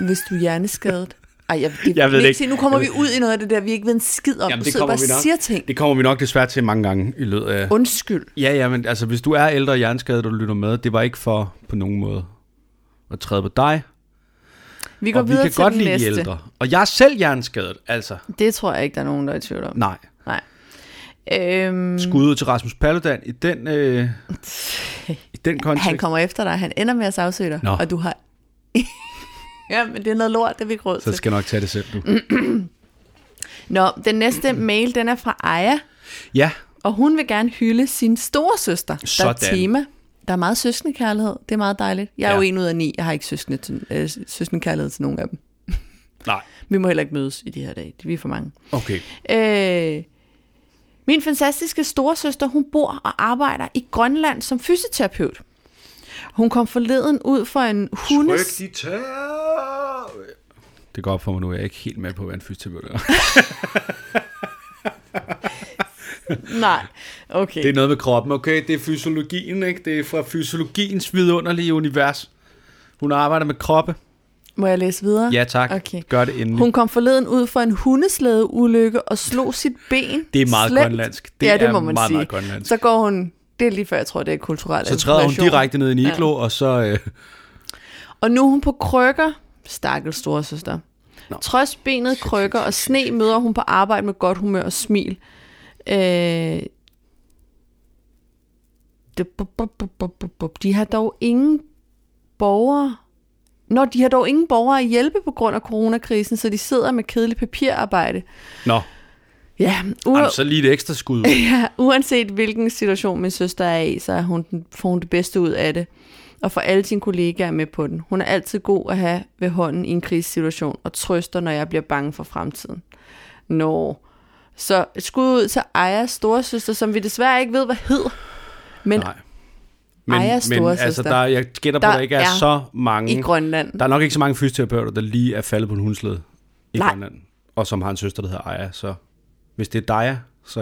det, hvis du er hjerneskadet. Ej, jeg, det, Jeg ved det Nick, ikke. se, Nu kommer vi ud i noget af det der, vi ikke ved en skid om. Jamen, du det sidder kommer bare vi og nok. siger ting. det kommer vi nok desværre til mange gange i løbet af... Undskyld. Ja, ja, men altså, hvis du er ældre og hjerneskadet, og du lytter med, det var ikke for på nogen måde at træde på dig. Vi går Og vi videre kan til godt den lide næste. ældre. Og jeg er selv hjerneskadet, altså. Det tror jeg ikke, der er nogen, der er i tvivl om. Nej. Nej. Øhm, Skud ud til Rasmus Paludan i den, øh, i den kontekst. han kommer efter dig. Han ender med at sagsøge dig. Nå. Og du har... ja, men det er noget lort, det har vi ikke råd Så til. skal jeg nok tage det selv, du. Mm. Nå, den næste mail, den er fra Aya, Ja, og hun vil gerne hylde sin store søster. Der er Sådan. tema. Der er meget søskendekærlighed. Det er meget dejligt. Jeg er ja. jo Ja. en ud af ni. Jeg har ikke søskende til, øh, søskendekærlighed til nogen af dem. nej. Vi må heller ikke mødes i de her dage. Vi er for mange. Okay. Øh, min fantastiske storesøster, hun bor og arbejder i Grønland som fysioterapeut. Hun kom forleden ud for en hundes... de tæer. Det går op for mig nu, jeg er ikke helt med på, hvad en fysioterapeut er. Nej, okay. Det er noget med kroppen, okay? Det er fysiologien, ikke? Det er fra fysiologiens vidunderlige univers. Hun arbejder med kroppe. Må jeg læse videre? Ja, tak. Okay. Gør det endelig. Hun kom forleden ud for en hundeslædeulykke og slog sit ben. Det er meget slemt. grønlandsk. Det Det ja, det er må man meget, sige. meget grønlandsk. Så går hun, det er lige før jeg tror, det er kulturel Så træder hun appropriation. direkte ned i en iglo, ja. og så... Øh, Og nu er hun på krykker. Stakkel storesøster. Nå. Trods benet krykker og sne møder hun på arbejde med godt humør og smil. Øh, det- bu- bu- bu- bu- bu- bu- de har dog ingen borgere... Når de har dog ingen borgere at hjælpe på grund af coronakrisen, så de sidder med kedeligt papirarbejde. nå, Ja, Jamen, u- så lige et ekstra skud. Ja, uanset hvilken situation min søster er i, så er hun den, får hun det bedste ud af det. Og får alle sine kollegaer med på den. Hun er altid god at have ved hånden i en krisesituation, og trøster, når jeg bliver bange for fremtiden. Nå. Så et skud ud til Ajas storesøster, som vi desværre ikke ved, hvad hed. Men Nej. Men, Ajas men storesøster. altså, der, jeg gætter på, Der at der ikke er, er så mange... i Grønland. Der er nok ikke så mange fysioterapeuter, der lige er faldet på en hundsled i Nej. Grønland. Og som har en søster, der hedder Aja. Så hvis det er Daja, så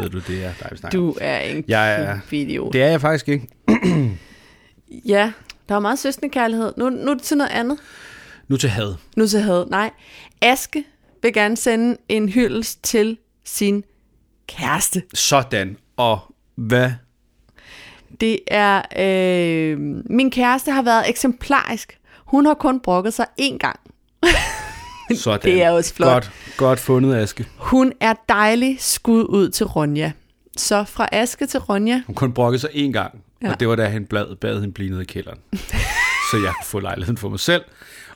ved du, det er dig, vi snakker om. Du er en Jeg er- kæmpe idiot. Det er jeg faktisk ikke. Ja, der er meget søskende kærlighed. Nu, nu er det til noget andet. Nu til had. Nu til had. Nej. Aske vil gerne sende en hyldest til sin kæreste. Sådan. Og hvad? Det er, øh, min kæreste har været eksemplarisk. Hun har kun brokket sig én gang. Sådan. Det er også flot. Godt, godt fundet, Aske. Hun er dejlig skud ud til Ronja. Så fra Aske til Ronja. Hun kun brokkede sig én gang, ja. Ja. og det var da han bad, bad hende blive nede i kælderen. så jeg kunne få lejligheden for mig selv,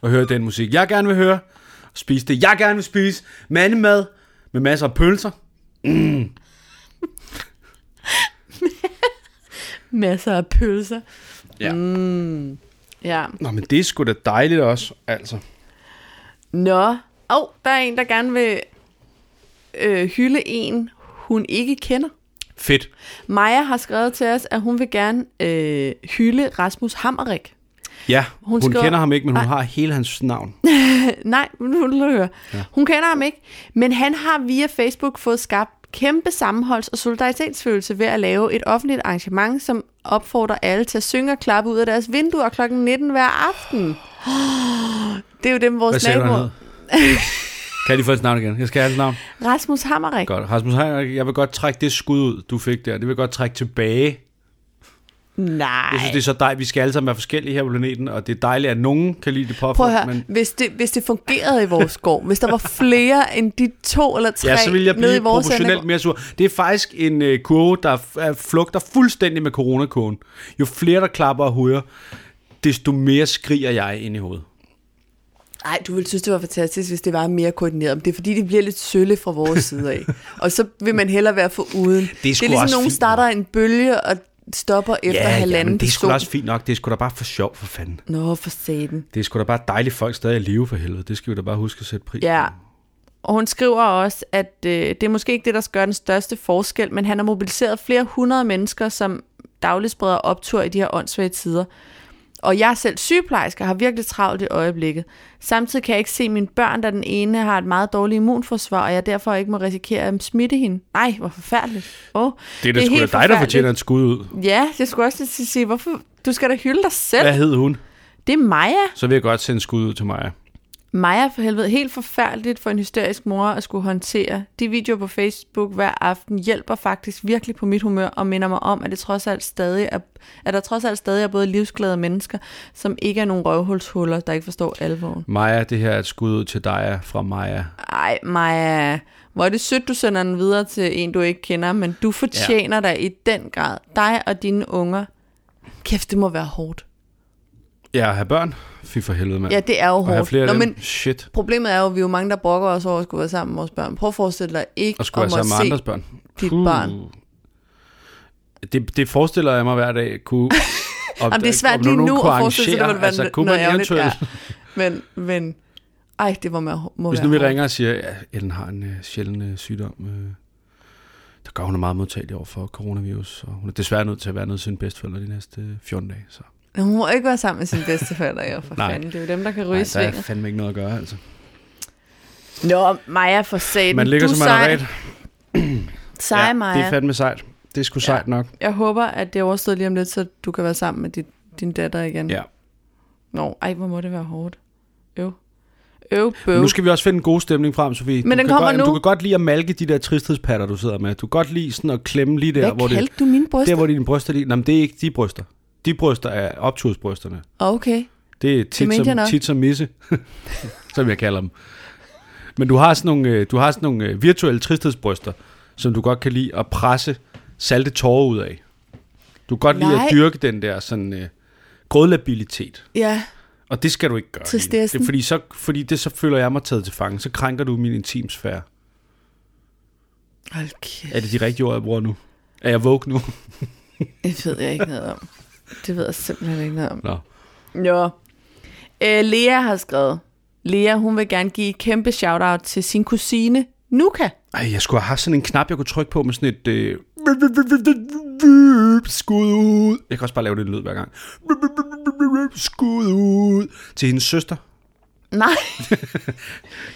og høre den musik, jeg gerne vil høre, og spise det, jeg gerne vil spise, mandemad med masser af pølser. Masser af pølser. Ja. Mm, ja. Nå, men det er sgu da dejligt også, altså. Nå. Åh, oh, der er en, der gerne vil øh, hylde en, hun ikke kender. Fedt. Maja har skrevet til os, at hun vil gerne øh, hylde Rasmus Hammerik. Ja, hun, Hun hun skriver- kender ham ikke, men hun har hele hans navn. Nej, nu vil du høre. Ja. Hun kender ham ikke, men han har via Facebook fået skabt kæmpe sammenholds- og solidaritetsfølelse ved at lave et offentligt arrangement, som opfordrer alle til at synge og klappe ud af deres vinduer kl. 19 hver aften. Det er jo dem, Hvad vores siger du, han naboer. hed? Kan de få hans navn igen? Jeg skal have hans navn. Rasmus Hammerik. Godt. Rasmus Heinrich, jeg vil godt trække det skud ud, du fik der. Det vil jeg godt trække tilbage. Nej. Jeg synes, det er så dejligt. Vi skal alle sammen være forskellige her på planeten, og det er dejligt, at nogen kan lide det påfund. Prøv at høre, men men... hvis, det, hvis det fungerede i vores gård, hvis der var flere end de to eller tre ja, så vil jeg nede i blive vores proportionelt andegård- mere sur. Det er faktisk en øh, kurve, der f- er- flugter fuldstændig med coronakurven. Jo flere, der klapper og hujer, desto mere skriger jeg ind i hovedet. Ej, du ville synes, det var fantastisk, hvis det var mere koordineret. Men det er fordi, det bliver lidt sølle fra vores side af. Og så vil man hellere være for uden. Det sgu er ligesom, også nogen fint starter en bølge og stopper efter halvanden men det er sgu da person. også fint nok. Det er sgu da bare for sjov, for fanden. Nå, for satan. Det er sgu da bare dejligt, folk stadig er i live for helvede. Det skal vi da bare huske at sætte pris Ja. på. Og hun skriver også, at øh, det er måske ikke det, der gør den største forskel, men han har mobiliseret flere hundrede mennesker, som dagligt spreder optur i de her åndssvage tider. Og jeg er selv sygeplejerske og har virkelig travlt i øjeblikket. Samtidig kan jeg ikke se mine børn, da den ene har et meget dårligt immunforsvar, og jeg derfor ikke må risikere at smitte hende. Nej, hvor forfærdeligt. Oh, Det er da sgu da dig, der fortjener et skud ud. Ja, jeg skulle også lige til at sige, hvorfor... Du skal da hylde dig selv. Hvad hed hun? Det er Maja. Så vil jeg godt sende skud ud til mig. Maja for helvede, helt forfærdeligt for en hysterisk mor at skulle håndtere. De videoer på Facebook hver aften hjælper faktisk virkelig på mit humør og minder mig om, at, det trods alt stadig er, at der trods alt stadig er både livsglade mennesker, som ikke er nogen røvhulshuller, der ikke forstår alvoren. Maja, det her er et skud ud til dig fra Maja. Ej, Maja, hvor er det sødt, du sender den videre til en, du ikke kender, men du fortjener ja. dig i den grad. Dig og dine unger. Kæft, det må være hårdt. Ja, at have børn? Fy for helvede, mand. Ja, det er jo og have hårdt. flere af Nå, dem? men Shit. Problemet er jo, at vi er jo mange, der brokker os over at skulle være sammen med vores børn. Prøv at forestille dig ikke Og skulle være om at sammen med se andres børn. dit Puh. barn. Det, det forestiller jeg mig hver dag. Kunne, om, Jamen, det er svært om lige nogen nu kunne at forestille sig, arrangere, det ville være altså, kunne man ærgerligt. eventuelt, Ja. Men, men, ej, det må, man, må Hvis være nu vi hårdt. ringer og siger, at ja, Ellen har en øh, sjælden øh, sygdom, øh, der gør hun er meget modtagelig over for coronavirus, og hun er desværre nødt til at være nede sin bedsteforældre de næste øh, 14 dage. Så. Men Hun må ikke være sammen med sine bedsteforældre, jo, for Nej. fanden. Det er jo dem, der kan ryge Nej, i der er svinget. fandme ikke noget at gøre, altså. Nå, Maja for satan. Man ligger du som man sej, er ret. Sej, ja, det er Maja. fandme sejt. Det er sgu sejt nok. Jeg håber, at det er overstået lige om lidt, så du kan være sammen med dit, din datter igen. Ja. Nå, ej, hvor må det være hårdt. Øv. Øv, Men bøv. nu skal vi også finde en god stemning frem, Sofie. Men du den kan kommer godt, jamen, Du nu. kan godt lide at malke de der tristhedspatter, du sidder med. Du kan godt lide sådan at klemme lige der, Hvad hvor det, kaldte du mine bryster? der, hvor dine bryster lige... Nå, men det er ikke de bryster. De bryster er optursbrysterne. Okay. Det er tit, mente jeg som, nok. tit som misse, som jeg kalder dem. Men du har sådan nogle, øh, du har sådan nogle øh, virtuelle tristhedsbryster, som du godt kan lide at presse salte tårer ud af. Du kan godt lide Nej. at dyrke den der sådan øh, grødlabilitet. Ja, Og det skal du ikke gøre. Line. Tristessen. Det, er fordi, så, fordi det, så føler jeg mig taget til fange. Så krænker du min intimsfære. Hold kæft, Er det de rigtige ord, jeg bruger nu? Er jeg vågen nu? det ved jeg ikke noget om. Det ved jeg simpelthen ikke noget om. Nå. Jo. Øh, Lea har skrevet. Lea, hun vil gerne give et kæmpe shout-out til sin kusine, Nuka. Ej, jeg skulle have haft sådan en knap, jeg kunne trykke på med sådan et øh, Skud ud. Jeg kan også bare lave det lyd hver gang. Skud ud. Til hendes søster. Nej,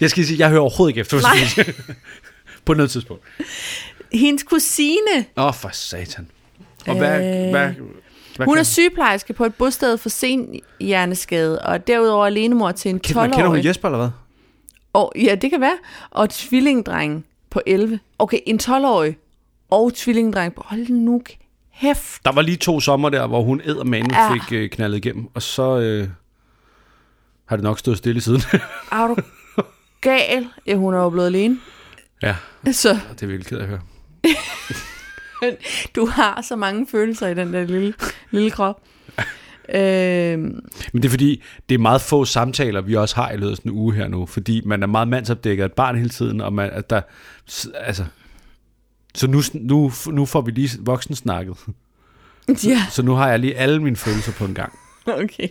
Jeg skal lige sige, jeg hører overhovedet ikke efter, hvad jeg skal sige. På noget tidspunkt. hendes kusine. Åh, oh, for satan. Og hvad, Øh, hvad, hvad Hun er kan- sygeplejerske på et bosted for sen hjerneskade, og derudover alenemor til en Kender, kender hun 12-årig. Jesper, eller hvad? Og, ja, det kan være. Og tvillingdreng på 11. Okay, en 12-årig og tvillingdreng. på- Hold nu kæft. Der var lige to sommer der, hvor hun eddermanden Ja. ja. fik øh, knaldet igennem, og så øh, har det nok stået stille siden. Er du gal? Ja, hun er jo blevet alene. ja, Så det er virkelig ked af at høre. du har så mange følelser i den der lille, lille krop. Øhm, Men det er fordi, det er meget få samtaler, vi også har i løbet af sådan en uge her nu, fordi man er meget mandsopdækket af et barn hele tiden, og man, at der, s- altså, så nu, nu, nu får vi lige voksen snakket. ja, Så nu har jeg lige alle mine følelser på en gang. okay.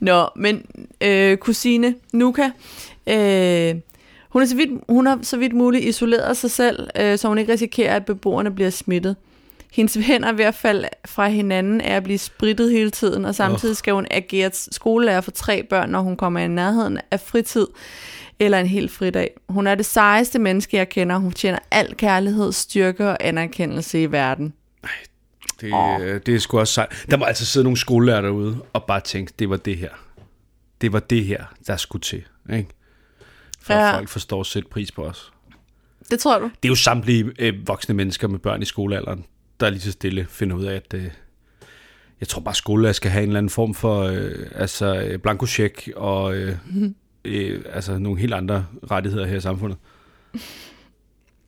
Nå, men øh, kusine Nuka, øh, hun, er så vidt, hun har så vidt muligt isoleret sig selv, øh, så hun ikke risikerer, at beboerne bliver smittet. Hendes hænder er ved at falde fra hinanden er at blive sprittet hele tiden, og samtidig skal hun agere skolelærer for tre børn, når hun kommer i nærheden af fritid eller en hel fridag. Hun er det sejeste menneske, jeg kender. Hun tjener al kærlighed, styrke og anerkendelse i verden. Det, oh. det er sgu også sejt. Der må altså sidde nogle skolelærer derude og bare tænke, det var det her. Det var det her, der skulle til. Ikke? For ja. Ja. at folk forstår at sætte pris på os. Det tror du? Det er jo samtlige øh, voksne mennesker med børn i skolealderen, der lige så stille finder ud af, at øh, jeg tror bare, skolelærer skal have en eller anden form for øh, altså, øh, blankosjek og øh, øh, altså, nogle helt andre rettigheder her i samfundet.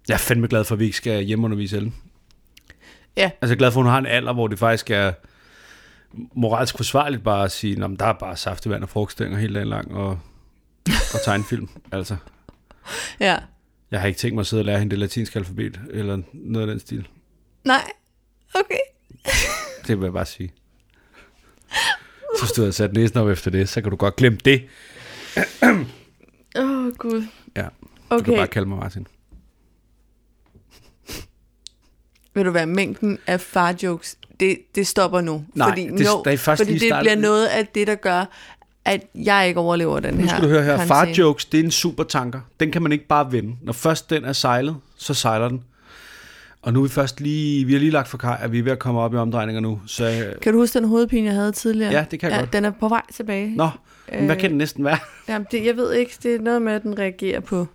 Jeg er fandme glad for, at vi ikke skal hjemmeundervise Ellen. Ja. Altså jeg er glad for, at hun har en alder, hvor det faktisk er moralsk forsvarligt bare at sige, at der er bare saftevand og frugtstænger hele dagen lang og, og tegnefilm. altså, Ja. jeg har ikke tænkt mig at sidde og lære hende det latinske alfabet eller noget af den stil. Nej. Okay. Det vil jeg bare sige. Så hvis du havde sat næsen op efter det, så kan du godt glemme det. Åh, oh, Gud. Ja, du kan Okay. bare kalde mig Martin. Vil du være mængden af farjokes? Det, det stopper nu. Nej, fordi, det- der er først fordi lige det startet. bliver noget af det, der gør, at jeg ikke overlever den her Nu skal du høre her. karantæne. Far-jokes, det er en supertanker. Den kan man ikke bare vende. Når først den er sejlet, så sejler den. Og nu er vi først lige, vi har lige lagt for kaj, at vi er ved at komme op i omdrejninger nu. Så øh, Kan du huske den hovedpine, jeg havde tidligere? Ja, det kan jeg godt. Den er på vej tilbage. Nå, men hvad Øh. kan det næsten være? Jamen, det, jeg ved ikke, det er noget med, at den reagerer på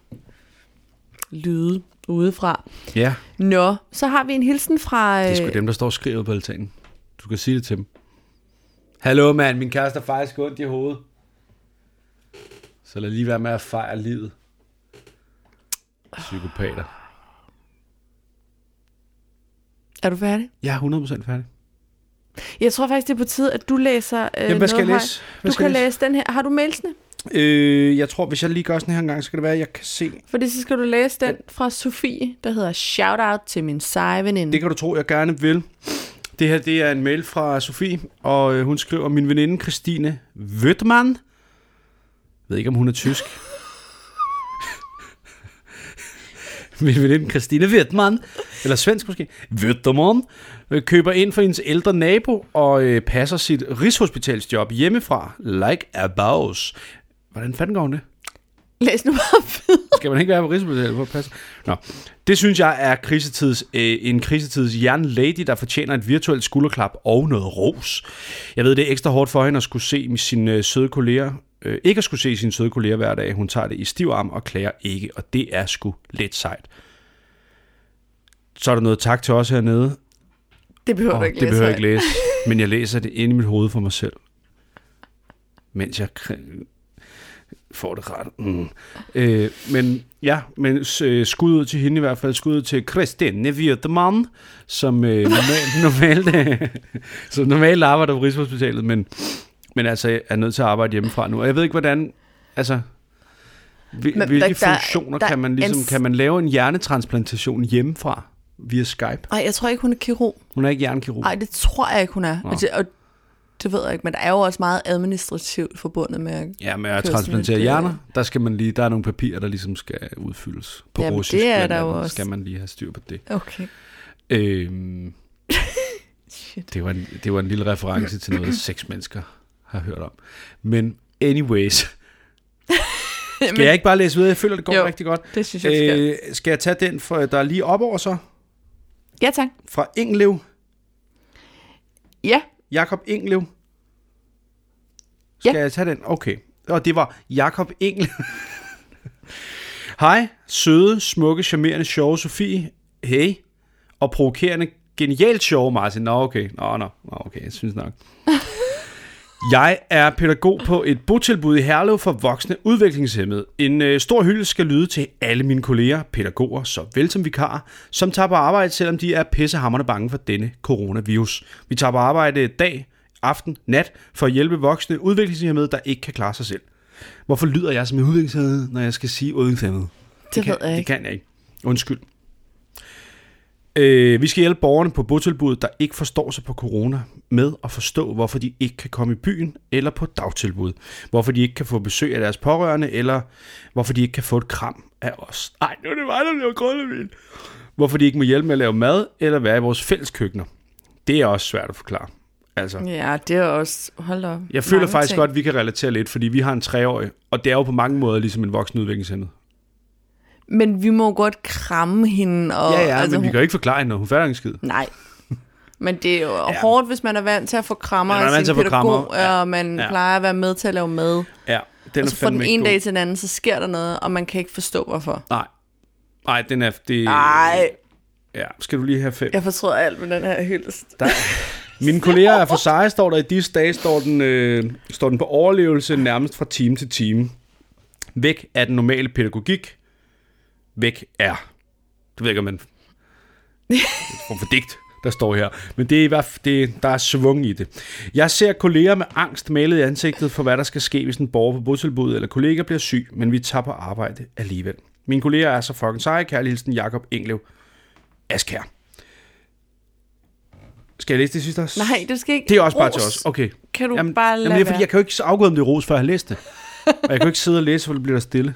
lyde udefra. Ja, Nå, så har vi en hilsen fra... det er Øh, sgu dem, der står og skriver på altanen. Du kan sige det til dem. Hallo mand, min kæreste er faktisk ondt i hovedet. Så lad lige være med at fejre livet. Psykopater. er du færdig? Jeg er 100% færdig. Jeg tror faktisk, det er på tide, at du læser øh, Jamen, hvad skal jeg noget læse? højt. Hvad Du skal kan jeg læse den her. Har du mailsene? Øh, jeg tror, hvis jeg lige gør sådan her en gang, så kan det være, at jeg kan se. Fordi så skal du læse den fra Sofie, der hedder Shoutout til min seje veninde. Det kan du tro, jeg gerne vil. Det her det er en mail fra Sofie, og øh, hun skriver, min veninde Christine Wødmann. Jeg ved ikke, om hun er tysk. min veninde Christine Wødmann, eller svensk måske, Wødmann, øh, køber ind for hendes ældre nabo og øh, passer sit rigshospitalsjob hjemmefra, like a boss. Hvordan fanden går hun det? Læs nu bare videre. Skal man ikke være på Rigshospitalet for at passe? Nå. Det synes jeg er krisetids, øh, en krisetids jernlady, der fortjener et virtuelt skulderklap og noget ros. Jeg ved, det er ekstra hårdt for hende at skulle se sine øh, søde kolleger. Øh, ikke at skulle se sine søde kolleger hver dag. Hun tager det i stiv arm og klager ikke, og det er sgu lidt sejt. Så er der noget tak til os hernede. Det behøver Åh, du ikke det læse. behøver jeg ikke højt. læse, men jeg læser det inde i mit hoved for mig selv. Mens jeg kri- får det ret. Mm. Øh, men ja, men øh, skud ud til hende i hvert fald. Skud ud til Christine Wirtemann, som øh, normalt, normalt, som normalt arbejder på Rigshospitalet, men, men altså er nødt til at arbejde hjemmefra nu. Og jeg ved ikke, hvordan... Altså, hvil, Men men, hvilke der- der- funktioner der kan man er en ligesom... s- Kan man lave en hjernetransplantation hjemmefra via Skype? Ej, jeg tror ikke, hun er kirurg. Hun er ikke hjernekirurg. Nej, det tror jeg ikke, hun er. Og det, og det ved jeg ikke, men der er jo også meget administrativt forbundet med... Ja, med at Kørsel, transplantere det- hjerner, der skal man lige, der er nogle papirer, der ligesom skal udfyldes på Jamen, russisk. det er blandt der jo andet. også. Skal man lige have styr på det. Okay. Øhm, Shit. det, var en, det var en lille reference til noget, seks mennesker har hørt om. Men anyways, skal Men jeg ikke bare læse videre? Jeg føler, det går Jo. jo. rigtig godt. Det synes jeg, du skal. Øh, skal jeg tage den, for, der er lige op over så? Ja, tak. Fra Inglev. Ja, Jakob Inglev. Ja. Skal jeg tage den? Okay. Og det var Jakob Inglev. Hej, søde, smukke, charmerende, sjove Sofie. Hey. Og provokerende, genialt sjove Martin. Nå, okay. Nå, nå. Nå, okay. Jeg synes nok. Jeg er pædagog på et botilbud i Herlev for voksne udviklingshemmede. En øh, stor hylde skal lyde til alle mine kolleger, pædagoger såvel som vikarer, som tager på arbejde, selvom de er pissehammerne bange for denne coronavirus. Vi tager på arbejde dag, aften, nat for at hjælpe voksne udviklingshemmede, der ikke kan klare sig selv. Hvorfor lyder jeg som en udviklingshemmet, når jeg skal sige udviklingshemmet? det, kan, ved jeg Det ikke. kan jeg ikke. Undskyld. Øh, vi skal hjælpe borgerne på botilbuddet, der ikke forstår sig på corona, med at forstå, hvorfor de ikke kan komme i byen eller på dagtilbud. Hvorfor de ikke kan få besøg af deres pårørende, eller hvorfor de ikke kan få et kram af os. Ej, nu er det mig, der laver grønnevin. Hvorfor de ikke må hjælpe med at lave mad, eller være i vores fælles køkkener. Det er også svært at forklare. Altså, Ja, det er også... Hold da op. jeg føler Mange faktisk ting. godt, at vi kan relatere lidt, fordi vi har en treårig, og det er jo på mange måder ligesom en voksen udviklingshemmet. Men vi må jo godt kramme hende. Og, Ja, ja, altså, men vi hun- kan jo ikke forklare hende, når hun fatter en skid. Nej. Men det er jo ja. hårdt, hvis man er vant til at få krammer Ja, man er af vant sin til at få pædagog, krammer. Ja. og man Ja. ja. plejer at være med til at lave mad. Ja, den Og er så fra den fandme ene ikke god. Øh. dag til den anden, så sker der noget, og man kan ikke forstå, hvorfor. Nej. Nej, den er... Det, Nej, Ja, skal du lige have fem? Ja. jeg fortrød alt med den her hyldest. Der, mine kolleger er for seje, står der i disse dage, står den, øh, står den på overlevelse nærmest fra time til time. Væk er den normale pædagogik. Væk er. Det ved jeg ikke, om man... Form for digt, der står her. Men det er i hvert fald, det, der er svung i det. Jeg ser kolleger med angst malet i ansigtet for, hvad der skal ske, hvis en borger på botilbuddet eller kollega bliver syg, men vi tager på arbejde alligevel. Mine kolleger er så fucking seje, kærlig hilsen Jakob Englev. Askær. Skal jeg læse det sidste også? Nej, det skal ikke. Det er også bare Ros. til os. Okay. Kan du bare lade jamen, det er, fordi være? jeg kan jo ikke afgå, om det er ros, før jeg har læst det. Og jeg kan jo ikke sidde og læse, for det bliver der stille.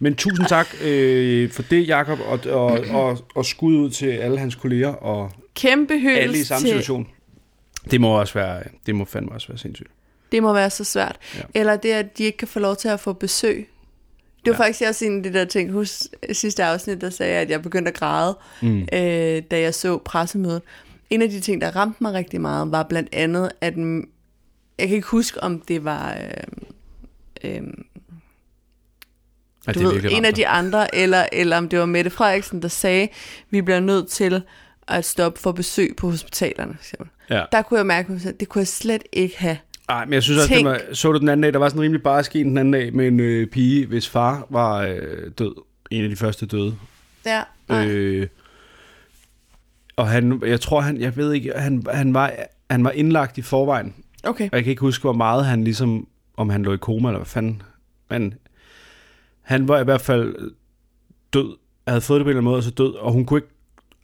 Men tusind tak øh, for det, Jakob, og, og, og, og skud ud til alle hans kolleger og Kæmpe hyldest alle i samme til... situation. Det må også være, det må fandme også være sindssygt. Det må være så svært. Ja. Ja. Eller det, at de ikke kan få lov til at få besøg. Det var ja. faktisk også en af de der ting, husk sidste afsnit, der sagde jeg, at jeg begyndte at græde, mm. øh, da jeg så pressemødet. En af de ting, der ramte mig rigtig meget, var blandt andet, at mm, jeg kan ikke huske, om det var øh, øh, At du det ved, virkelig en ramte af de andre, eller, eller om det var Mette Frederiksen, der sagde, vi bliver nødt til at stoppe for besøg på hospitalerne. for eksempel. dig. Ja. Der kunne jeg mærke, at det kunne jeg slet ikke have. Ej, men jeg synes også, det Tænk. var, så du den anden dag, der var sådan en rimelig bare sket den anden dag med en øh, pige, hvis far var øh, død. En af de første døde. Ja, nej. Øh, og han, jeg tror, han, jeg ved ikke, han, han, var, han var indlagt i forvejen. okay. Og jeg kan ikke huske, hvor meget han ligesom, om han lå i koma eller hvad fanden. Men han var i hvert fald død, havde fået det på en eller anden måde, og så død, og hun kunne ikke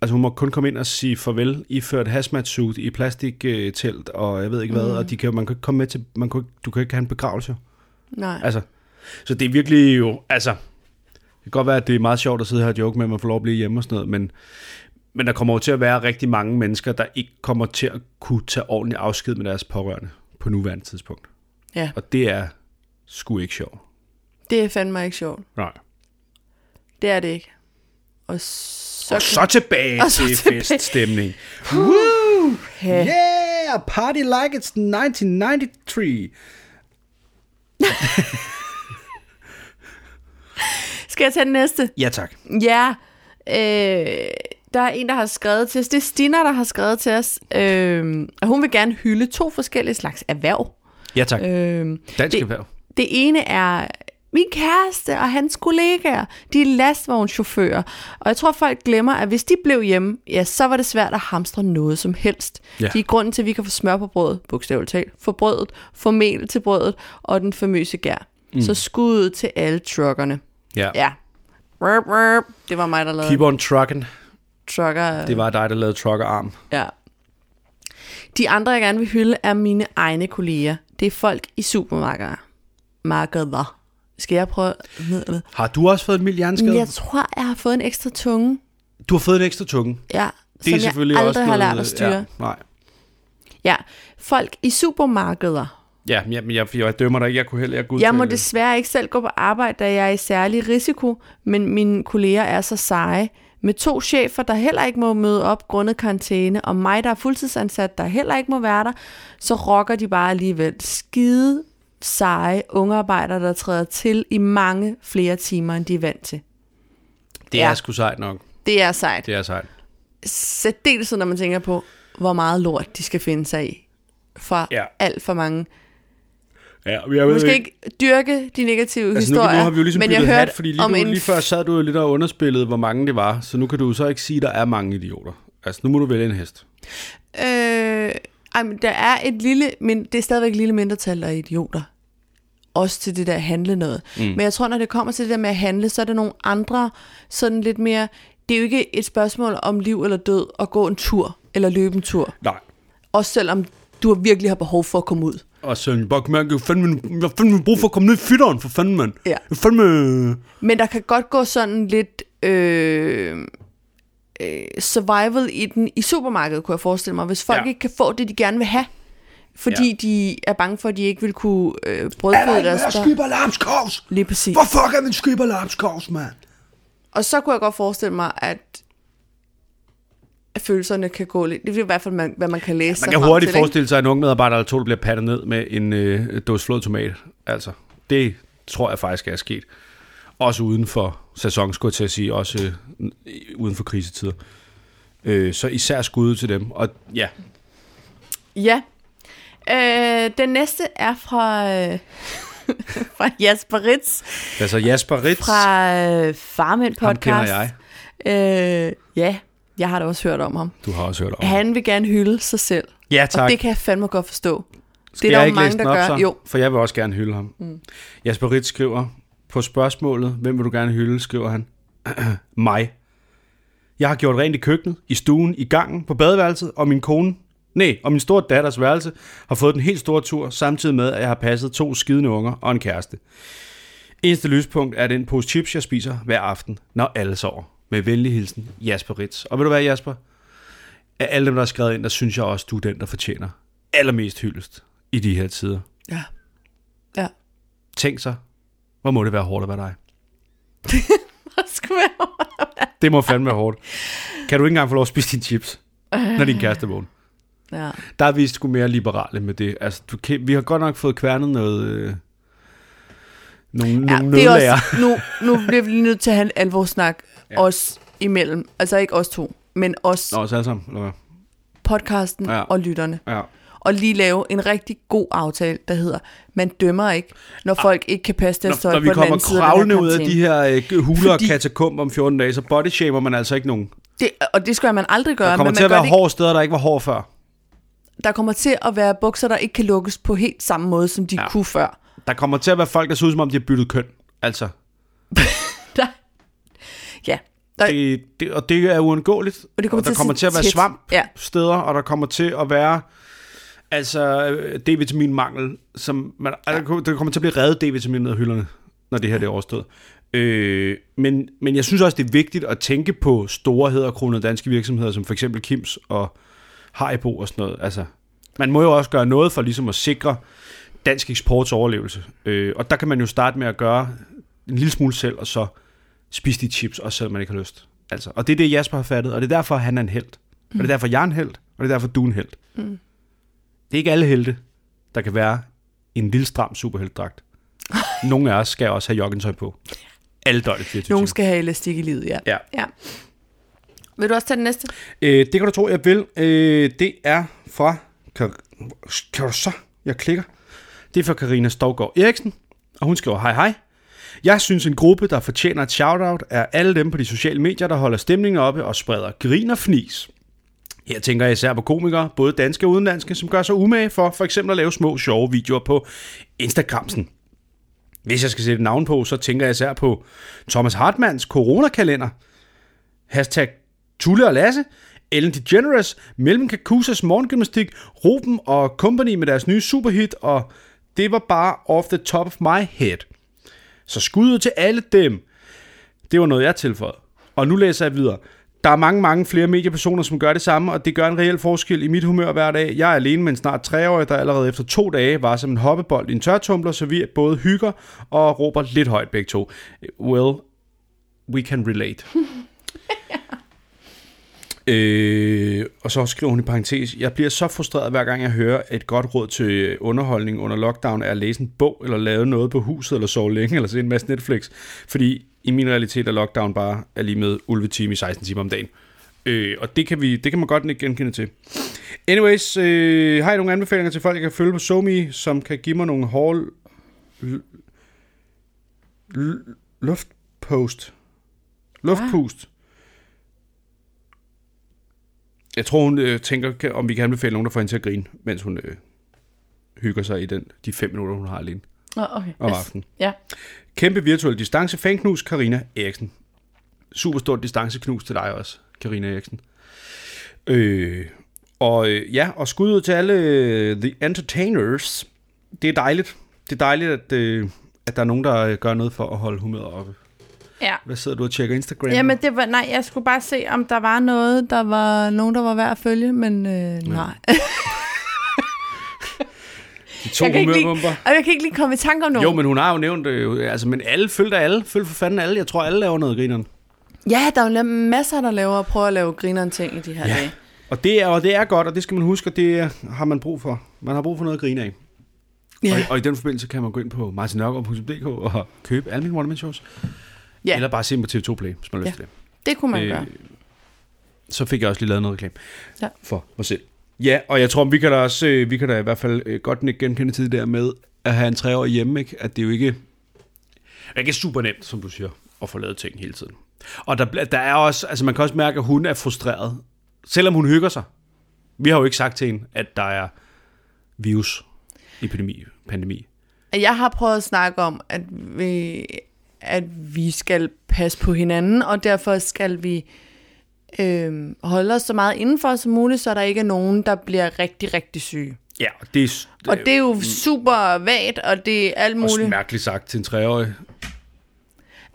Altså hun må kun komme ind og sige farvel, iført hazmat suit i plastiktelt, og jeg ved ikke hvad, mm. og de kan, man kan ikke komme med til, man kan, ikke- du kan ikke have en begravelse. Nej. Altså, så det er virkelig jo, altså, det kan godt være, at det er meget sjovt at sidde her og joke med, at man får lov at blive hjemme og sådan noget, men, men der kommer jo til at være rigtig mange mennesker, der ikke kommer til at kunne tage ordentlig afsked med deres pårørende på nuværende tidspunkt. Ja. Og det er sgu ikke sjovt. Det er fandme ikke sjovt. Nej. Det er det ikke. Og så... Og så tilbage Og så til tilbage. feststemning. Ja. Yeah, party like it's 1993. Skal jeg tage den næste? Ja tak. Ja. Øh, der er en, der har skrevet til os. Det er Stina, der har skrevet til os. Øh, og hun vil gerne hylde to forskellige slags erhverv. Ja tak. Øh, Dansk det- erhverv. Det ene er min kæreste og hans kollegaer. De er lastvognchauffører. Og jeg tror, folk glemmer, at hvis de blev hjemme, ja, så var det svært at hamstre noget som helst. Ja. Ja. De er grunden til, at vi kan få smør på brødet, bogstaveligt talt, få brødet, få mel til brødet og den famøse gær. Mm. Så skuddet til alle truckerne. Ja. Ja. Rup, rup. Det var mig, der lavede Keep on trucking. trucker. Det var dig, der lavede truckerarm. Ja. De andre, jeg gerne vil hylde, er mine egne kolleger. Det er folk i supermarkeder. Markeder. Skal jeg prøve? Har du også fået en mild hjerneskade? Jeg tror, jeg har fået en ekstra tunge. Du har fået en ekstra tunge. Ja, Det er som selvfølgelig jeg aldrig også har noget, lært at styre. Ja, Ja. nej. ja. Folk i supermarkeder. Ja, men jeg, men jeg, jeg dømmer dig ikke. Jeg kunne heller ikke udtale Jeg må det. desværre ikke selv gå på arbejde, da jeg er i særlig risiko, men mine kolleger er så seje. Med to chefer, der heller ikke må møde op grundet karantæne, og mig, der er fuldtidsansat, der heller ikke må være der, så rocker de bare alligevel. Skide seje ungarbejdere, der træder til i mange flere timer, end de er vant til. Det er Ja. sgu sejt nok. Det er sejt. Det er sejt. særdeleshed, når man tænker på, hvor meget lort de skal finde sig i fra Ja. ja. alt for mange. Ja, men jeg Du skal ikke dyrke de negative Altså nu, nu historier, har vi jo ligesom men jeg byttet hørte hat, fordi lige, om nu, en... lige før sad du jo lidt og underspillede, hvor mange det var. Så nu kan du så ikke sige, at der er mange idioter. Altså, nu må du vælge en hest. Øh, ej, men der er et lille, men det er stadigvæk et lille mindretal af idioter. Også til det der handle noget. Mm. Men jeg tror, når det kommer til det der med at handle, så er det nogle andre, sådan lidt mere... Det er jo ikke et spørgsmål om liv eller død at gå en tur eller løbe en tur. Nej. Også selvom du virkelig har behov for at komme ud. Og Søren Bokmærk, jeg fandme, jeg fandme brug for at komme ned i fytteren, for fanden, mand. Ja. Jeg fandme... Men der kan godt gå sådan lidt øh, øh, survival i den i supermarkedet, kunne jeg forestille mig, hvis folk Ja. ja. ikke kan få det, de gerne vil have. Fordi Ja. ja. de er bange for, at de ikke vil kunne øh, brødføde deres børn. skybalarmskovs? Lige præcis. fuck er min skybalarmskovs, mand? Og så kunne jeg godt forestille mig, at at følelserne kan gå lidt. Det er i hvert fald, man, hvad man kan læse Man sig kan frem hurtigt til, ikke? forestille sig, at en ung medarbejder eller to der bliver pattet ned med en øh, dåse flåd tomat. Altså, det tror jeg faktisk er sket. Også uden for sæson, skulle jeg til at sige. Også øh, n- uden for krisetider. Øh, så især skud til dem. Og ja, Ja. Øh, den næste er fra, øh, fra Jasper Ritz. altså Jasper Ritz, fra øh, Farmænd Ham podcast. kender jeg. Øh, ja, jeg har da også hørt om ham. du har også hørt om. ham. Han vil gerne hylde sig selv. Ja, Og tak. det kan jeg fandme godt forstå. Skal det er der jo jeg ikke mange, læse den der op, gør. så? Jo. For jeg vil også gerne hylde ham. Mm. Jasper Ritz skriver på spørgsmålet, hvem vil du gerne hylde, skriver han. Mig. Jeg har gjort rent i køkkenet, i stuen, i gangen, på badeværelset, og min kone, nej, og min store datters værelse, har fået den helt store tur, samtidig med, at jeg har passet to skidende unger og en kæreste. Eneste lyspunkt er den pose chips, jeg spiser hver aften, når alle sover. Med venlig hilsen, Jasper Ritz. Og vil du være Jasper? Af alle dem, der har skrevet ind, der synes jeg også, du er den, der fortjener allermest hyldest i de her tider. Ja. Ja. Tænk så, hvor må det være hårdt at være dig. Det skulle være- Det må fandme være hårdt. Kan du ikke engang få lov at spise dine chips, når din kæreste er vågen? ja. Der er vi sgu mere liberale med det. Altså, du kan, vi har godt nok fået kværnet noget... Øh, nogle, ja, ja nogle det er nødlager. også, nu, nu bliver vi lige nødt til at have en alvorsnak ja. os imellem. Altså ikke os to, men os, Nå, så alle sammen. Eller hvad? podcasten Ja. ja. og lytterne. Ja. Og lige lave en rigtig god aftale, der hedder, man dømmer ikke, når folk ikke kan passe deres Ah. Når, tøj når på vi den kommer anden side af den kravlende her ud af karantæne. de her øh, huler Fordi... og Fordi- katakomb om 14 dage, så bodyshamer man altså ikke nogen. Det, og det skal man aldrig gøre. Der kommer men man til at gør være det hårde steder, der ikke var hårde før. der kommer til at være bukser, der ikke kan lukkes på helt samme måde, som de Ja. ja. kunne før. Der kommer til at være folk, der ser ud, som om de har byttet køn. Altså, Der, ja, der, det, det, det, og det er uundgåeligt. Og det kommer og der til at kommer sidde til at være tæt. svamp ja. Ja. steder, og der kommer til at være altså øh, D-vitaminmangel, som man, ja. der kommer- der kommer til at blive reddet D-vitamin ud af hylderne, når det her det er overstået. Øh, men, men jeg synes også, det er vigtigt at tænke på storheder og kronede danske virksomheder, som for eksempel Kims og Haribo og sådan noget. Altså, man må jo også gøre noget for ligesom at sikre dansk eksports overlevelse. Øh, og der kan man jo starte med at gøre en lille smule selv, og så spise de chips, også selvom man ikke har lyst. Altså, og det er det, Jasper har fattet, og det er derfor, han er en held. Og det er derfor, jeg er en held, og det er derfor, du er en held. Mm. Det er ikke alle helte, der kan være i en lille stram superheltdragt. Nogle af os skal også have joggentøj på. Alle døgnet 24 nogen timer. skal have elastik i livet, ja. Ja. ja. Vil du også tage den næste? Øh, det kan du tro, jeg vil. Øh, det er fra... Kar- kan du så? Jeg klikker. Det er fra Karina Stovgaard Eriksen, og hun skriver, hej hej. Jeg synes, en gruppe, der fortjener et shout-out, er alle dem på de sociale medier, der holder stemningen oppe og spreder grin og fnis. Her tænker jeg især på komikere, både danske og udenlandske, som gør sig umage for for eksempel at lave små sjove videoer på Instagramsen. Hvis jeg skal sætte et navn på, så tænker jeg især på Thomas Hartmanns coronakalender, hashtag Tulle og Lasse, Ellen DeGeneres, Mellem Kakusas morgengymnastik, Ruben og Company med deres nye superhit, og det var bare off the top of my head. Så skud ud til alle dem. Det var noget, jeg tilføjede. Og nu læser jeg videre. Der er mange, mange flere mediepersoner, som gør det samme, og det gør en reel forskel i mit humør hver dag. Jeg er alene med en snart treårig, der allerede efter to dage var som en hoppebold i en tørtumbler, så vi både hygger og råber lidt højt begge to. Well, we can relate. Øh, og så skriver hun i parentes, jeg bliver så frustreret, hver gang jeg hører et godt råd til underholdning under lockdown, er at læse en bog, eller lave noget på huset, eller sove længe, eller se en masse Netflix. Fordi i min realitet er lockdown bare er lige med ulvetime i 16 timer om dagen. Øh, og det kan, vi, det kan man godt genkende til. Anyways, øh, har I nogle anbefalinger til folk, jeg kan følge på Somi, som kan give mig nogle hårde l- l- luftpost? Luftpust? Jeg tror, hun øh, tænker, kan- om vi kan anbefale nogen, der får hende til at grine, mens hun øh, hygger sig i den, de fem minutter, hun har alene Nå, okay. om Altså, aftenen. Ja. Kæmpe virtuel distance. Fanknus, Karina Eriksen. Super stort distanceknus til dig også, Karina Eriksen. Øh, og øh, ja, og skud ud til alle øh, The Entertainers. Det er dejligt. Det er dejligt, at, øh, at der er nogen, der øh, gør noget for at holde humøret oppe. ja. Hvad sidder du og tjekker Instagram? Jamen, det var, nej, jeg skulle bare se, om der var noget, der var nogen, der var værd at følge, men øh, nej. De to jeg kan ikke lide- humørbomber. Og jeg kan ikke lige komme i tanke om nogen. Jo, men hun har jo nævnt, øh, altså, men alle, følg da alle, følg for fanden alle. Jeg tror, alle laver noget, grineren. Ja, der er jo la- masser, der laver og prøver at lave grineren ting i de her ja. dage. Og det, er, og det er godt, og det skal man huske, og det er- har man brug for. Man har brug for noget at grine af. Ja. Og, og i den forbindelse kan man gå ind på martinørgaard.dk og købe alle mine one shows. Ja. Eller bare se dem på TV2 Play, hvis man har Ja. lyst til det. Det kunne man øh, gøre. så fik jeg også lige lavet noget reklame Ja. for mig selv. Ja, og jeg tror, vi kan da også, øh, vi kan da i hvert fald øh, godt nikke genkende til det der med at have en treårig hjemme, ikke? at det er jo ikke, det er ikke super nemt, som du siger, at få lavet ting hele tiden. Og der, bl- der er også, altså man kan også mærke, at hun er frustreret, selvom hun hygger sig. Vi har jo ikke sagt til hende, at der er virus, epidemi, pandemi. Jeg har prøvet at snakke om, at vi, at vi skal passe på hinanden, og derfor skal vi øh, holde os så meget indenfor som muligt, så der ikke er nogen, der bliver rigtig, rigtig syge. Ja, og det er, mm. Og det er jo super vagt, og det er alt også muligt. mærkeligt sagt til en treårig.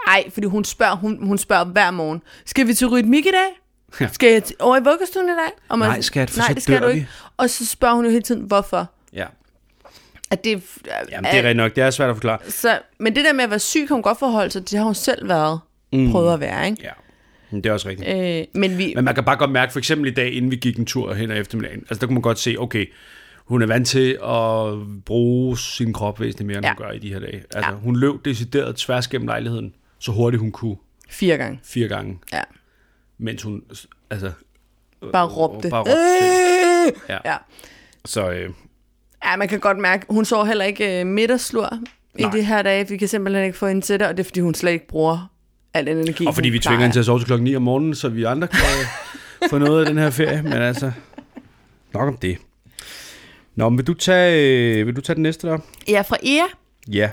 Nej, fordi hun spørger, hun, hun spørger hver morgen, skal vi til rytmik i dag? Ja. Skal jeg til- over i vuggestuen i dag? Og Nej, skat, for nej, så det skal dør du vi." ikke. Og så spørger hun jo hele tiden, hvorfor? Ja, At det, Jamen, det er rigtigt nok, det er svært at forklare. Så, men det der med at være syg, kan hun godt forholde sig til. Det har hun selv været mm. prøvet at være, ikke? Ja, men det er også rigtigt. Øh, men vi, Men man kan bare godt mærke, for eksempel i dag, inden vi gik en tur hen ad eftermiddagen, altså der kunne man godt se, okay, hun er vant til at bruge sin krop væsentligt mere, end ja. hun Ja. gør i de her dage. Altså, ja. hun løb decideret tværs gennem lejligheden, så hurtigt hun kunne, fire gange. fire gange, Ja, mens hun, altså, bare råbte. øh, bare råbte. ja. ja. Ja. Så, øh, ja, man kan godt mærke, hun sover heller ikke øh, middagslur i Nej. de her dage. Vi kan simpelthen ikke få hende til det, og det er fordi, hun slet ikke bruger al den energi, og fordi hun vi tvinger plejer. hende til at sove til klokken 9 om morgenen, så vi andre kan øh, få noget af den her ferie, men altså, nok om det. Nå, men vil du tage, øh, vil du tage den næste der? Ja, fra Ea. Ja.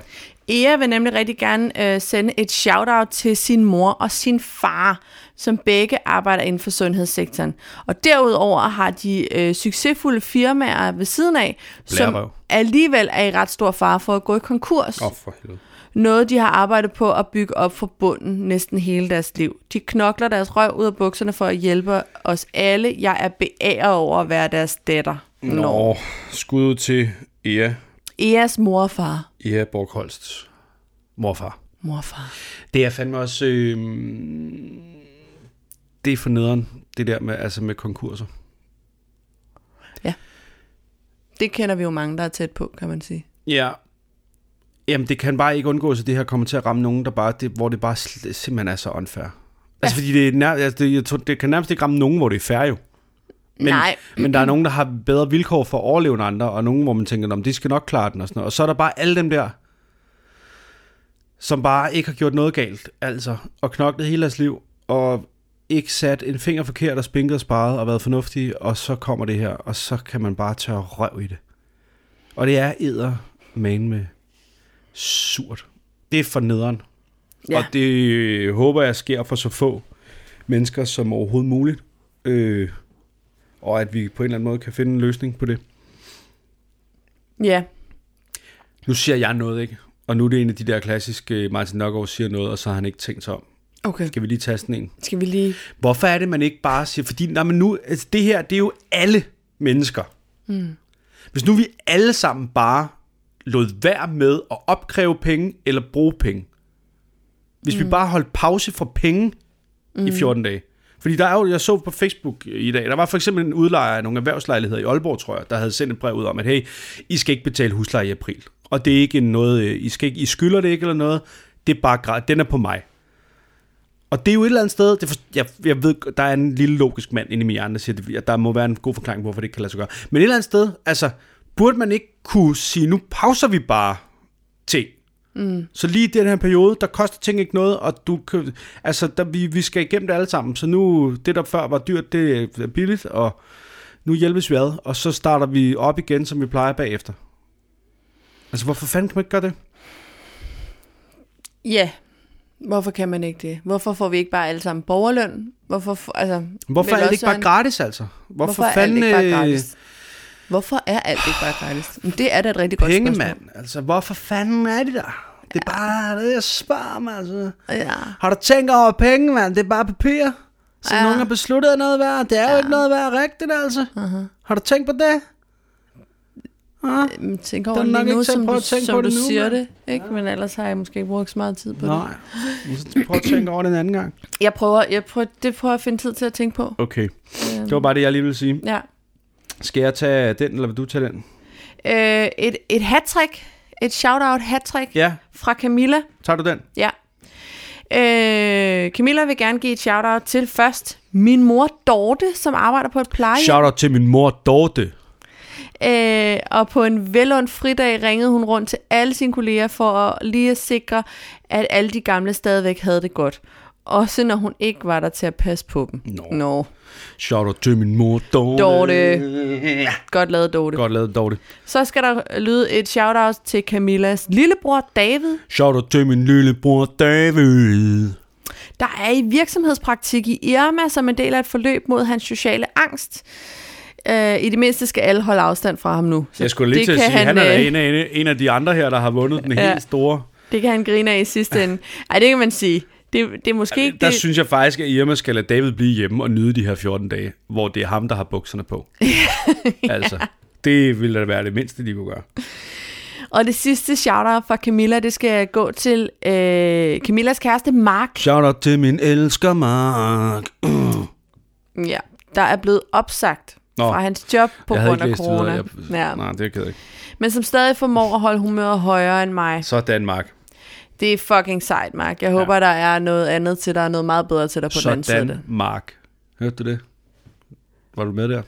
Ea vil nemlig rigtig gerne øh, sende et shout-out til sin mor og sin far, som begge arbejder inden for sundhedssektoren. Og derudover har de øh, succesfulde firmaer ved siden af, Blærerøv. som alligevel er i ret stor fare for at gå i konkurs. Åh, oh, for helvede. Noget, de har arbejdet på at bygge op fra bunden næsten hele deres liv. De knokler deres røv ud af bukserne for at hjælpe os alle. Jeg er beæret over at være deres datter. Nå. Nå, skud ud til Ea Eas mor og far. Ea Borgholsts morfar. Mor og far. Det er fandme også... Øh, det er for nederen, det der med, altså med konkurser. Det kender vi jo mange, der er tæt på, kan man sige. Ja. Jamen, det kan bare ikke undgås, at det her kommer til at ramme nogen, der bare, det, hvor det bare sl- simpelthen er så unfair. Altså, fordi det, er nær, altså, det, jeg tror, det kan nærmest ikke ramme nogen, hvor det er fair jo. Men, Nej. men der er nogen, der har bedre vilkår for at overleve end andre, og nogen, hvor man tænker, om de skal nok klare den og sådan noget. Og så er der bare alle dem der, som bare ikke har gjort noget galt, altså, og knoklet hele deres liv, og ikke sat en finger forkert og spinket og sparet og været fornuftige, og så kommer det her, og så kan man bare tørre røv i det. Og det er æder man med surt. Det er for nederen. Ja. Ja. Og det øh, håber jeg sker for så få mennesker som overhovedet muligt. Øh, og at vi på en eller anden måde kan finde en løsning på det. Ja, Nu siger jeg noget, ikke? Og nu er det en af de der klassiske, øh, Martin Nørgaard siger noget, og så har han ikke tænkt sig om. Okay. Skal vi lige tage sådan en? Skal vi lige... Hvorfor er det, man ikke bare siger, fordi nej, men nu, altså, det her, det er jo alle mennesker. Mm. Hvis nu vi alle sammen bare lod være med at opkræve penge eller bruge penge. Hvis mm. vi bare holdt pause for penge mm. i 14 dage. Fordi der er jo, jeg så på Facebook i dag, der var for eksempel en udlejer af nogle erhvervslejligheder i Aalborg, tror jeg, der havde sendt et brev ud om, at hey, I skal ikke betale husleje i april. Og det er ikke noget, øh, I, skal ikke, I skylder det ikke eller noget. Det er bare, gra- den er på mig. Og det er jo et eller andet sted, det for, jeg, jeg ved, der er en lille logisk mand inde i min hjerne, der siger, at der må være en god forklaring på, hvorfor det ikke kan lade sig gøre. Men et eller andet sted, altså, burde man ikke kunne sige, nu pauser vi bare ting. Mm. Så lige i den her periode, der koster ting ikke noget, og du kan, altså, der, vi, vi skal igennem det alle sammen. Så nu, det der før var dyrt, det er billigt, og nu hjælpes vi ad, og så starter vi op igen, som vi plejer bagefter. Altså, hvorfor fanden kan man ikke gøre det? Ja. Hvorfor kan man ikke det? Hvorfor får vi ikke bare alle sammen borgerløn? Hvorfor, f- altså, Hvorfor vel er det også ikke bare en- gratis, altså? Hvorfor, Hvorfor er alt ikke bare øh, gratis? Hvorfor er alt ikke bare gratis? Men det er da et rigtig godt Penge, spørgsmål. mand. Altså, hvorfor fanden er det der? Det er bare det, jeg spørger mig, altså. Ja. Har du tænkt over penge, mand? Det er bare papir. Så Ja. ja. nogen har besluttet at noget værd. Det er ja. jo ikke noget værd rigtigt, altså. Uh-huh. Har du tænkt på det? Ah. Øhm, Tænk over Den er nok lige nu, ikke til at som, prøve du, at tænke som på du det nu, siger mand. det. Ikke? Men ellers har jeg måske ikke brugt så meget tid på det. Nej. Nu skal jeg Prøv at tænke over det en anden gang. Jeg prøver, jeg prøver, det prøver jeg at finde tid til at tænke på. Okay, Øhm, det var bare det, jeg lige ville sige. Ja. Skal jeg tage den, eller vil du tage den? Øh, et et hattrick, et shout-out hattrick Ja, fra Camilla. tager du den? Ja. Øh, Camilla vil gerne give et shout-out til først min mor Dorte, som arbejder på et plejehjem. Shout-out til min mor, Dorte. Øh, og på en velund fridag ringede hun rundt til alle sine kolleger for at lige at sikre, at alle de gamle stadigvæk havde det godt. Også når hun ikke var der til at passe på dem. Nå. Nå. Shout-out til min mor, Dorte. Dorte. Godt lavet, Dorte. Godt lavet, Dorte. Så skal der lyde et shout-out til Camillas lillebror David, Shout-out til min lillebror, David. der er i virksomhedspraktik i Irma som en del af et forløb mod hans sociale angst. Øh, I det mindste skal alle holde afstand fra ham nu. Så Jeg skulle lige det til at kan sige, han, han er øh, da en af, en af de andre her, der har vundet den Ja. helt store. Det kan han grine af i sidste ende. Ej, det kan man sige. Det, det er måske ikke Der det. synes jeg faktisk, at Irma skal lade David blive hjemme og nyde de her 14 dage, hvor det er ham, der har bukserne på. Altså, det ville da være det mindste, de kunne gøre. Og det sidste shout-out fra Camilla, det skal gå til øh, Camillas kæreste Mark. Shout-out til min elsker Mark. Ja, der er blevet opsagt Nå, fra hans job på jeg havde grund ikke af læst corona. det videre. Jeg, ja. nej, det er jeg ked af. Men som stadig formår at holde humøret højere end mig. Så Danmark. Det er fucking sejt, Mark. Jeg håber, der er noget andet til dig, og noget meget bedre til dig på den anden side. af Så det. Mark. Hørte du det? Var du med der?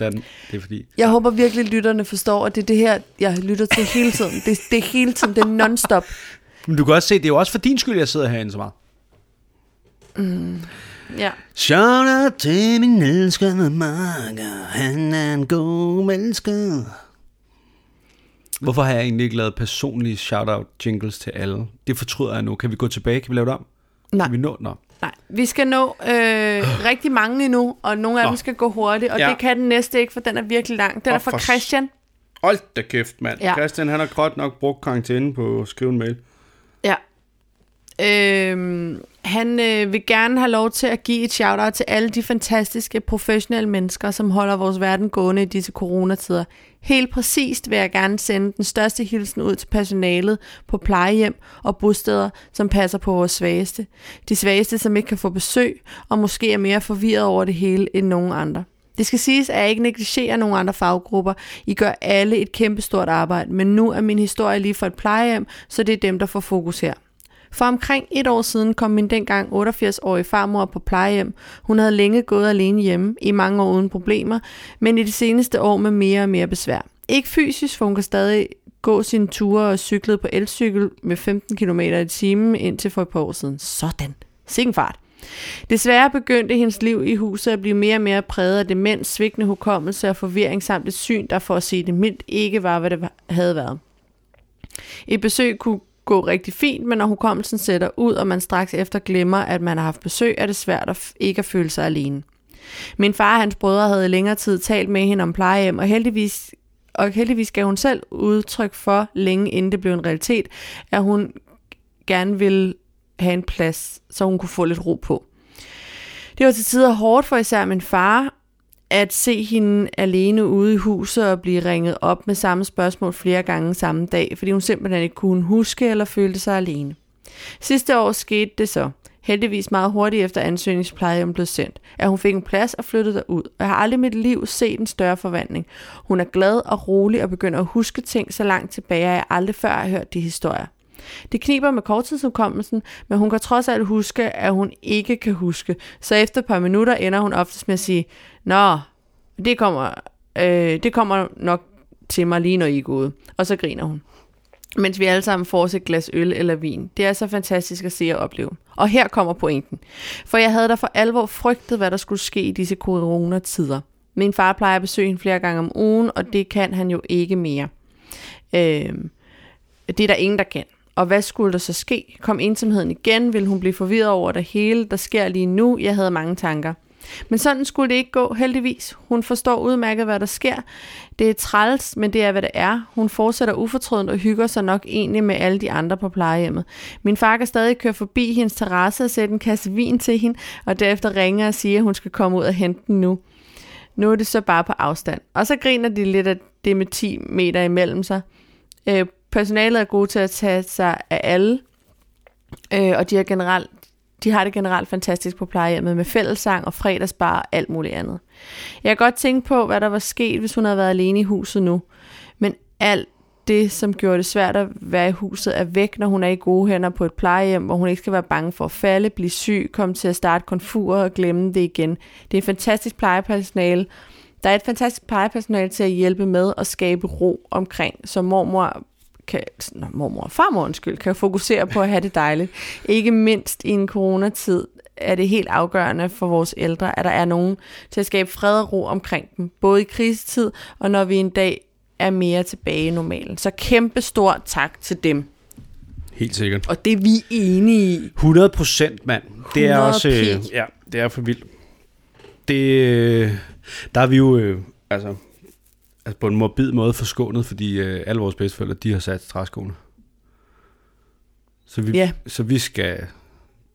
Dan, det er fordi... Jeg håber virkelig, lytterne forstår, at det er det her, jeg lytter til hele tiden. Det, det er hele tiden, det er non-stop. Men du kan også se, det er jo også for din skyld, jeg sidder herinde så meget. Ja. Shout-out til min elskede Mark, og han er en god menneske. Hvorfor har jeg egentlig ikke lavet personlige shout-out jingles til alle? Det fortryder jeg nu. Kan vi gå tilbage? Kan vi lave det om? Nej, Kan vi nå den om? nej. Vi skal nå øh, rigtig mange endnu, og nogle af Nå. dem skal gå hurtigt, og ja. Ja. det kan den næste ikke, for den er virkelig lang. Den Og er fra for- Christian. Hold da kæft, mand. Ja. Christian, han har godt nok brugt karantæne på at skrive en mail. Ja. Øhm, han øh, vil gerne have lov til at give et shout-out til alle de fantastiske professionelle mennesker, som holder vores verden gående i disse coronatider. Helt præcist vil jeg gerne sende den største hilsen ud til personalet på plejehjem og bosteder, som passer på vores svageste. De svageste, som ikke kan få besøg og måske er mere forvirret over det hele end nogen andre. Det skal siges, at jeg ikke negligerer nogen andre faggrupper. I gør alle et kæmpestort arbejde, men nu er min historie lige for et plejehjem, så det er dem, der får fokus her. For omkring et år siden kom min dengang 88-årige farmor på plejehjem. Hun havde længe gået alene hjemme, i mange år uden problemer, men i de seneste år med mere og mere besvær. Ikke fysisk, for hun kan stadig gå sine ture og cyklede på elcykel med 15 km i timen indtil for et par år siden. Sådan. Sikken fart. Desværre begyndte hendes liv i huset at blive mere og mere præget af demens, svigtende hukommelse og forvirring samt et syn, der for at sige det mildt ikke var, hvad det var- havde været. Et besøg kunne gå rigtig fint, men når hukommelsen sætter ud, og man straks efter glemmer, at man har haft besøg, er det svært at f- ikke at føle sig alene. Min far og hans brødre havde i længere tid talt med hende om plejehjem, og heldigvis, og heldigvis gav hun selv udtryk for, længe inden det blev en realitet, at hun gerne ville have en plads, så hun kunne få lidt ro på. Det var til tider hårdt for især min far, at se hende alene ude i huset og blive ringet op med samme spørgsmål flere gange samme dag, fordi hun simpelthen ikke kunne huske eller følte sig alene. Sidste år skete det så. Heldigvis meget hurtigt efter ansøgningsplejehjem blev sendt, at hun fik en plads og flyttede derud. Og jeg har aldrig i mit liv set en større forvandling. Hun er glad og rolig og begynder at huske ting så langt tilbage, at jeg aldrig før har hørt de historier. Det kniber med korttidsudkommelsen, men hun kan trods alt huske, at hun ikke kan huske. Så efter et par minutter ender hun oftest med at sige, Nå, det kommer, øh, det kommer nok til mig lige når I går ud. Og så griner hun mens vi alle sammen får os et glas øl eller vin. Det er så fantastisk at se og opleve. Og her kommer pointen. For jeg havde da for alvor frygtet, hvad der skulle ske i disse coronatider. Min far plejer at besøge hende flere gange om ugen, og det kan han jo ikke mere. Øhm, det er der ingen, der kan. Og hvad skulle der så ske? Kom ensomheden igen? Vil hun blive forvirret over det hele, der sker lige nu? Jeg havde mange tanker. Men sådan skulle det ikke gå, heldigvis. Hun forstår udmærket, hvad der sker. Det er træls, men det er, hvad det er. Hun fortsætter ufortrødent og hygger sig nok egentlig med alle de andre på plejehjemmet. Min far kan stadig køre forbi hendes terrasse og sætte en kasse vin til hende, og derefter ringer og siger, at hun skal komme ud og hente den nu. Nu er det så bare på afstand. Og så griner de lidt af det med 10 meter imellem sig. Øh, personalet er gode til at tage sig af alle, øh, og de har generelt de har det generelt fantastisk på plejehjemmet med fællessang og fredagsbar og alt muligt andet. Jeg kan godt tænke på, hvad der var sket, hvis hun havde været alene i huset nu. Men alt det, som gjorde det svært at være i huset, er væk, når hun er i gode hænder på et plejehjem, hvor hun ikke skal være bange for at falde, blive syg, komme til at starte konfurer og glemme det igen. Det er et fantastisk plejepersonale. Der er et fantastisk plejepersonale til at hjælpe med at skabe ro omkring, så mormor kan, nå, mormor og farmor undskyld, kan fokusere på at have det dejligt. Ikke mindst i en coronatid er det helt afgørende for vores ældre, at der er nogen til at skabe fred og ro omkring dem, både i krisetid og når vi en dag er mere tilbage i normalen. Så kæmpe stor tak til dem. Helt sikkert. Og det er vi enige i. 100 procent, mand. Det er 100 også... Øh, pi. ja, det er for vildt. Det, øh, der er vi jo øh, altså, altså på en morbid måde forskånet, fordi øh, alle vores bedsteforældre, de har sat træskoene. Så vi, Ja. så vi skal...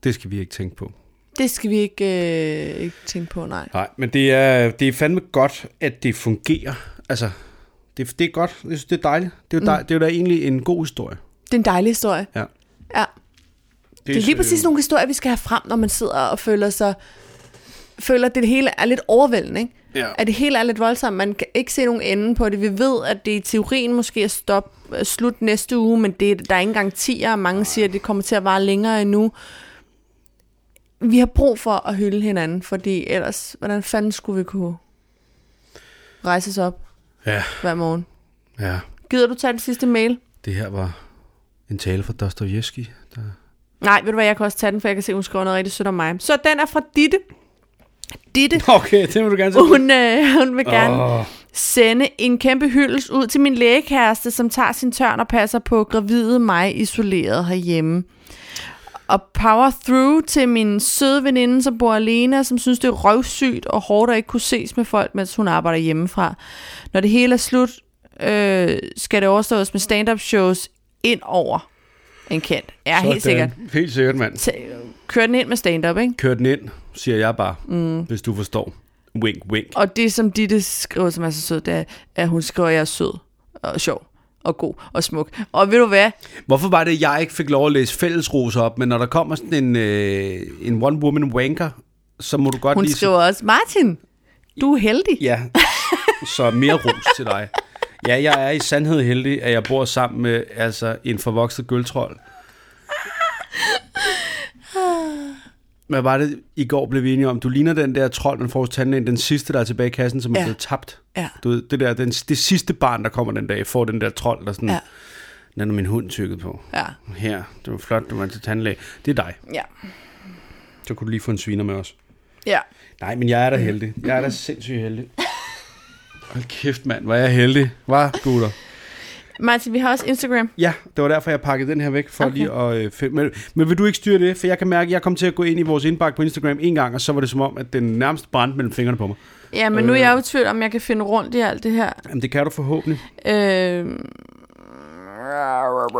Det skal vi ikke tænke på. Det skal vi ikke, øh, ikke tænke på, nej. Nej, men det er, det er fandme godt, at det fungerer. Altså, det, det er godt. Jeg synes, det er dejligt. Det er, Mm. jo dej, det er jo da egentlig en god historie. Det er en dejlig historie. Ja. Ja. Det er lige præcis nogle historier, vi skal have frem, når man sidder og føler sig føler, at det hele er lidt overvældende. Ikke? Ja. At det hele er lidt voldsomt. Man kan ikke se nogen ende på det. Vi ved, at det i teorien måske er stop, slut næste uge, men det, der er ikke engang 10'er, og mange siger, at det kommer til at vare længere endnu. Vi har brug for at hylde hinanden, fordi ellers, hvordan fanden skulle vi kunne rejse os op Ja, hver morgen? ja. Gider du tage den sidste mail? Det her var en tale fra Dostojevski. Der... Nej, ved du hvad, jeg kan også tage den, for jeg kan se, hun skriver noget rigtig sødt om mig. Så den er fra Ditte. Ditte, Okay, det må du gerne se. hun, øh, hun vil gerne Åh, sende en kæmpe hyldest ud til min lægekæreste, som tager sin tørn og passer på gravide mig isoleret herhjemme. Og power through til min søde veninde, som bor alene, og som synes, det er røvsygt og hårdt at ikke kunne ses med folk, mens hun arbejder hjemmefra. Når det hele er slut, øh, skal det overstås med stand-up shows ind over en kendt. Ja, helt sikkert. sådan. Helt sikkert, mand. T- Kør den ind med stand-up, ikke? Kør den ind, siger jeg bare, mm. hvis du forstår. Wink, wink. Og det, som Ditte skriver, som er så sød, det er, at hun skriver, at jeg er sød og sjov og god og smuk. Og ved du hvad? Hvorfor var det, at jeg ikke fik lov at læse fællesros op, men når der kommer sådan en, øh, en one-woman wanker, så må du godt Hun lige... skriver også, Martin, du er heldig. Ja, så mere ros til dig. Ja, jeg er i sandhed heldig, at jeg bor sammen med altså, en forvokset gøltrold. Hvad var det, i går blev vi enige om? Du ligner den der trold, man får hos tandlægen, den sidste, der er tilbage i kassen, som ja. er Ja. blevet tabt. Ja. Du ved, det, der, den, det sidste barn, der kommer den dag, får den der trold, der sådan, ja. Ja. den er min hund tykket på. Ja. Her, det var flot, du var til tandlæge. Det er dig. Ja. Så kunne du lige få en sviner med os. ja. Nej, men jeg er da heldig. Jeg er da sindssygt heldig. Mm. Hold kæft, mand. Hvor er jeg heldig. Var gutter. Martin, vi har også Instagram. Ja, det var derfor, jeg pakkede den her væk. For okay. lige at, øh, fin- men, men vil du ikke styre det? For jeg kan mærke, at jeg kom til at gå ind i vores indbakke på Instagram en gang, og så var det som om, at den nærmest brændte mellem fingrene på mig. Ja, men nu er jeg Øh. jo i tvivl, om jeg kan finde rundt i alt det her. Jamen, det kan du forhåbentlig. Øh,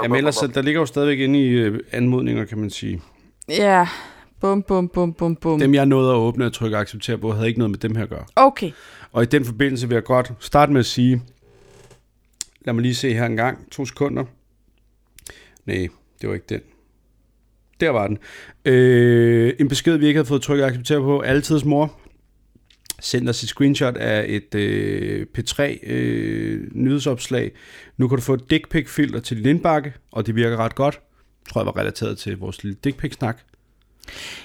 Jamen, ellers, så- der ligger jo stadigvæk inde i øh, anmodninger, kan man sige. Ja, bum, bum, bum, bum, bum. Dem, jeg nåede at åbne og trykke acceptere på, havde ikke noget med dem her at gøre. Okay. Og i den forbindelse vil jeg godt starte med at sige, lad mig lige se her en gang, to sekunder. Nej, det var ikke den. Der var den. Øh, en besked, vi ikke havde fået trykket acceptere på, Altids mor sendte os et screenshot af et øh, P3 øh, nyhedsopslag. Nu kan du få et dick pic filter til din indbakke, og det virker ret godt. Tror jeg var relateret til vores lille dick pic snak.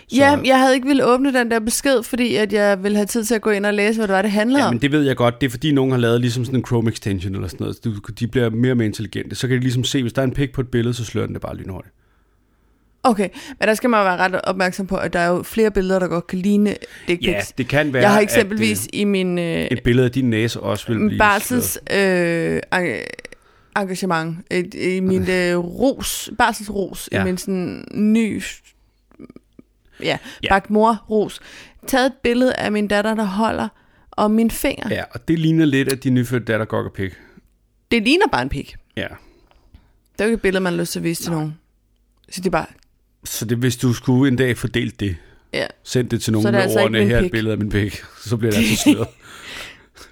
Så... Ja, jeg havde ikke ville åbne den der besked, fordi at jeg ville have tid til at gå ind og læse, hvad det var, det handlede Ja, om. men det ved jeg godt. Det er fordi, nogen har lavet ligesom sådan en Chrome extension eller sådan noget. Du- De bliver mere og mere intelligente. Så kan de ligesom se, hvis der er en pik på et billede, så slører den det bare lynhurtigt. Okay, men der skal man jo være ret opmærksom på, at der er jo flere billeder, der godt kan ligne dick Ja, pics. det kan være, jeg har at, eksempelvis i min øh, øh, et billede af din næse også vil blive sløret. barsels øh, en- engagement, et, i min øh, ros, barselsros, Ja. ja. i min sådan ny, ja, Ja. ja. bagt mor ros, taget et billede af min datter, der holder om min finger. Ja. Ja, og det ligner lidt, at din nyfødte datter går og pik. Det ligner bare en pik. Ja. Det er jo ikke et billede, man har lyst til at vise til nogen. Så det er bare, Så det, hvis du skulle en dag fordele det, ja, send det til Så er nogen det med altså ikke ordene, min her er et pik." billede af min pik, så bliver det altså sløret.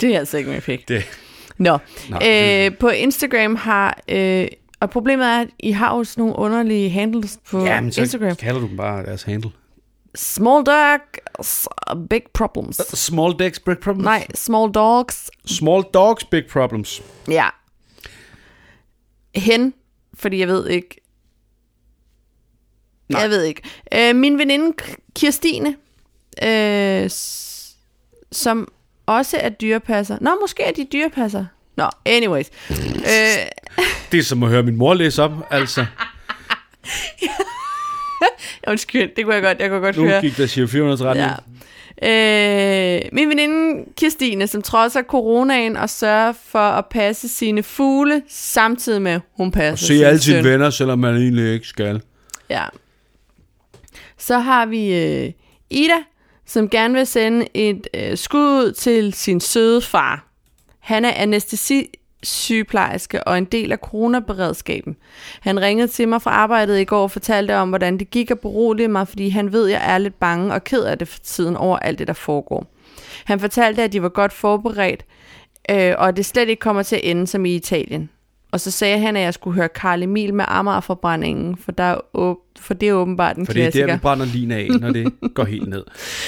det er altså ikke min pik. Det, Nå, nej, det, øh, på Instagram har, øh, og problemet er, at I har jo sådan nogle underlige handles på ja, ja, men så Instagram. kalder du dem bare deres handle. Small dogs, big problems. Small dogs, big problems. Nej, small dogs. Small dogs, big problems. Ja. Hen, fordi jeg ved ikke. Nej. Nej. Jeg ved ikke. Øh, min veninde K- Kirstine, øh, s- som også er dyrepasser. Nå, måske er de dyrepasser. Nå, anyways. øh, Det er som at høre min mor læse op, altså. undskyld, det kunne jeg godt, jeg kunne godt Nu høre. gik der Giro 413. Ja. Ja. Øh, min veninde Kirstine, som trodser coronaen og sørger for at passe sine fugle, samtidig med, at hun passer Se sin alle søn. sine venner, selvom man egentlig ikke skal. Ja. Så har vi øh, Ida, som gerne vil sende et øh, skud ud til sin søde far. Han er anestesisygeplejerske og en del af coronaberedskaben. Han ringede til mig fra arbejdet i går og fortalte om, hvordan det gik og beroligede mig, fordi han ved, jeg er lidt bange og ked af det for tiden over alt det, der foregår. Han fortalte, at de var godt forberedt, øh, og at det slet ikke kommer til at ende som i Italien. Og så sagde han, at jeg skulle høre Karl Emil med Amagerforbrændingen, for, der er åb- for det er åbenbart en For det er klassiker. der, vi brænder lin af, når det går helt ned.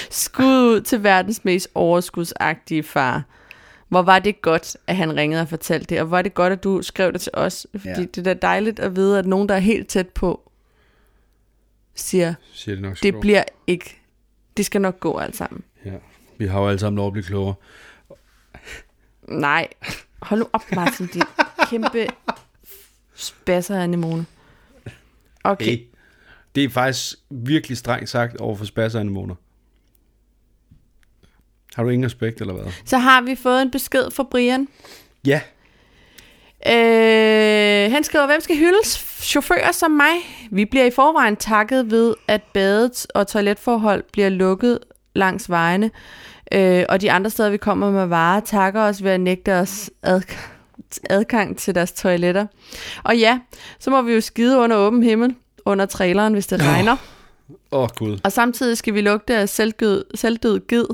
Skud ud til verdens mest overskudsagtige far. Hvor var det godt, at han ringede og fortalte det, og hvor var det godt, at du skrev det til os. Fordi Ja. ja. det er da dejligt at vide, at nogen, der er helt tæt på, siger, Siger det nok skal det gå. bliver ikke, det skal nok gå alt sammen. Ja. Vi har jo alle sammen lov at blive klogere. Nej, hold nu op, Martin, dit kæmpe spasser anemone. Okay, Hey. Det er faktisk virkelig strengt sagt over for spasser og anemoner. Har du ingen respekt, eller hvad? så har vi fået en besked fra Brian. Ja. Øh, han skriver, hvem skal hyldes? Chauffører som mig. Vi bliver i forvejen takket ved, at badet og toiletforhold bliver lukket langs vejene, øh, og de andre steder, vi kommer med varer, takker os ved at nægte os adgang, adgang til deres toiletter. Og ja, så må vi jo skide under åben himmel, under traileren, hvis det regner. Åh, oh, gud. Og samtidig skal vi lugte af selvdød, selvdød gid,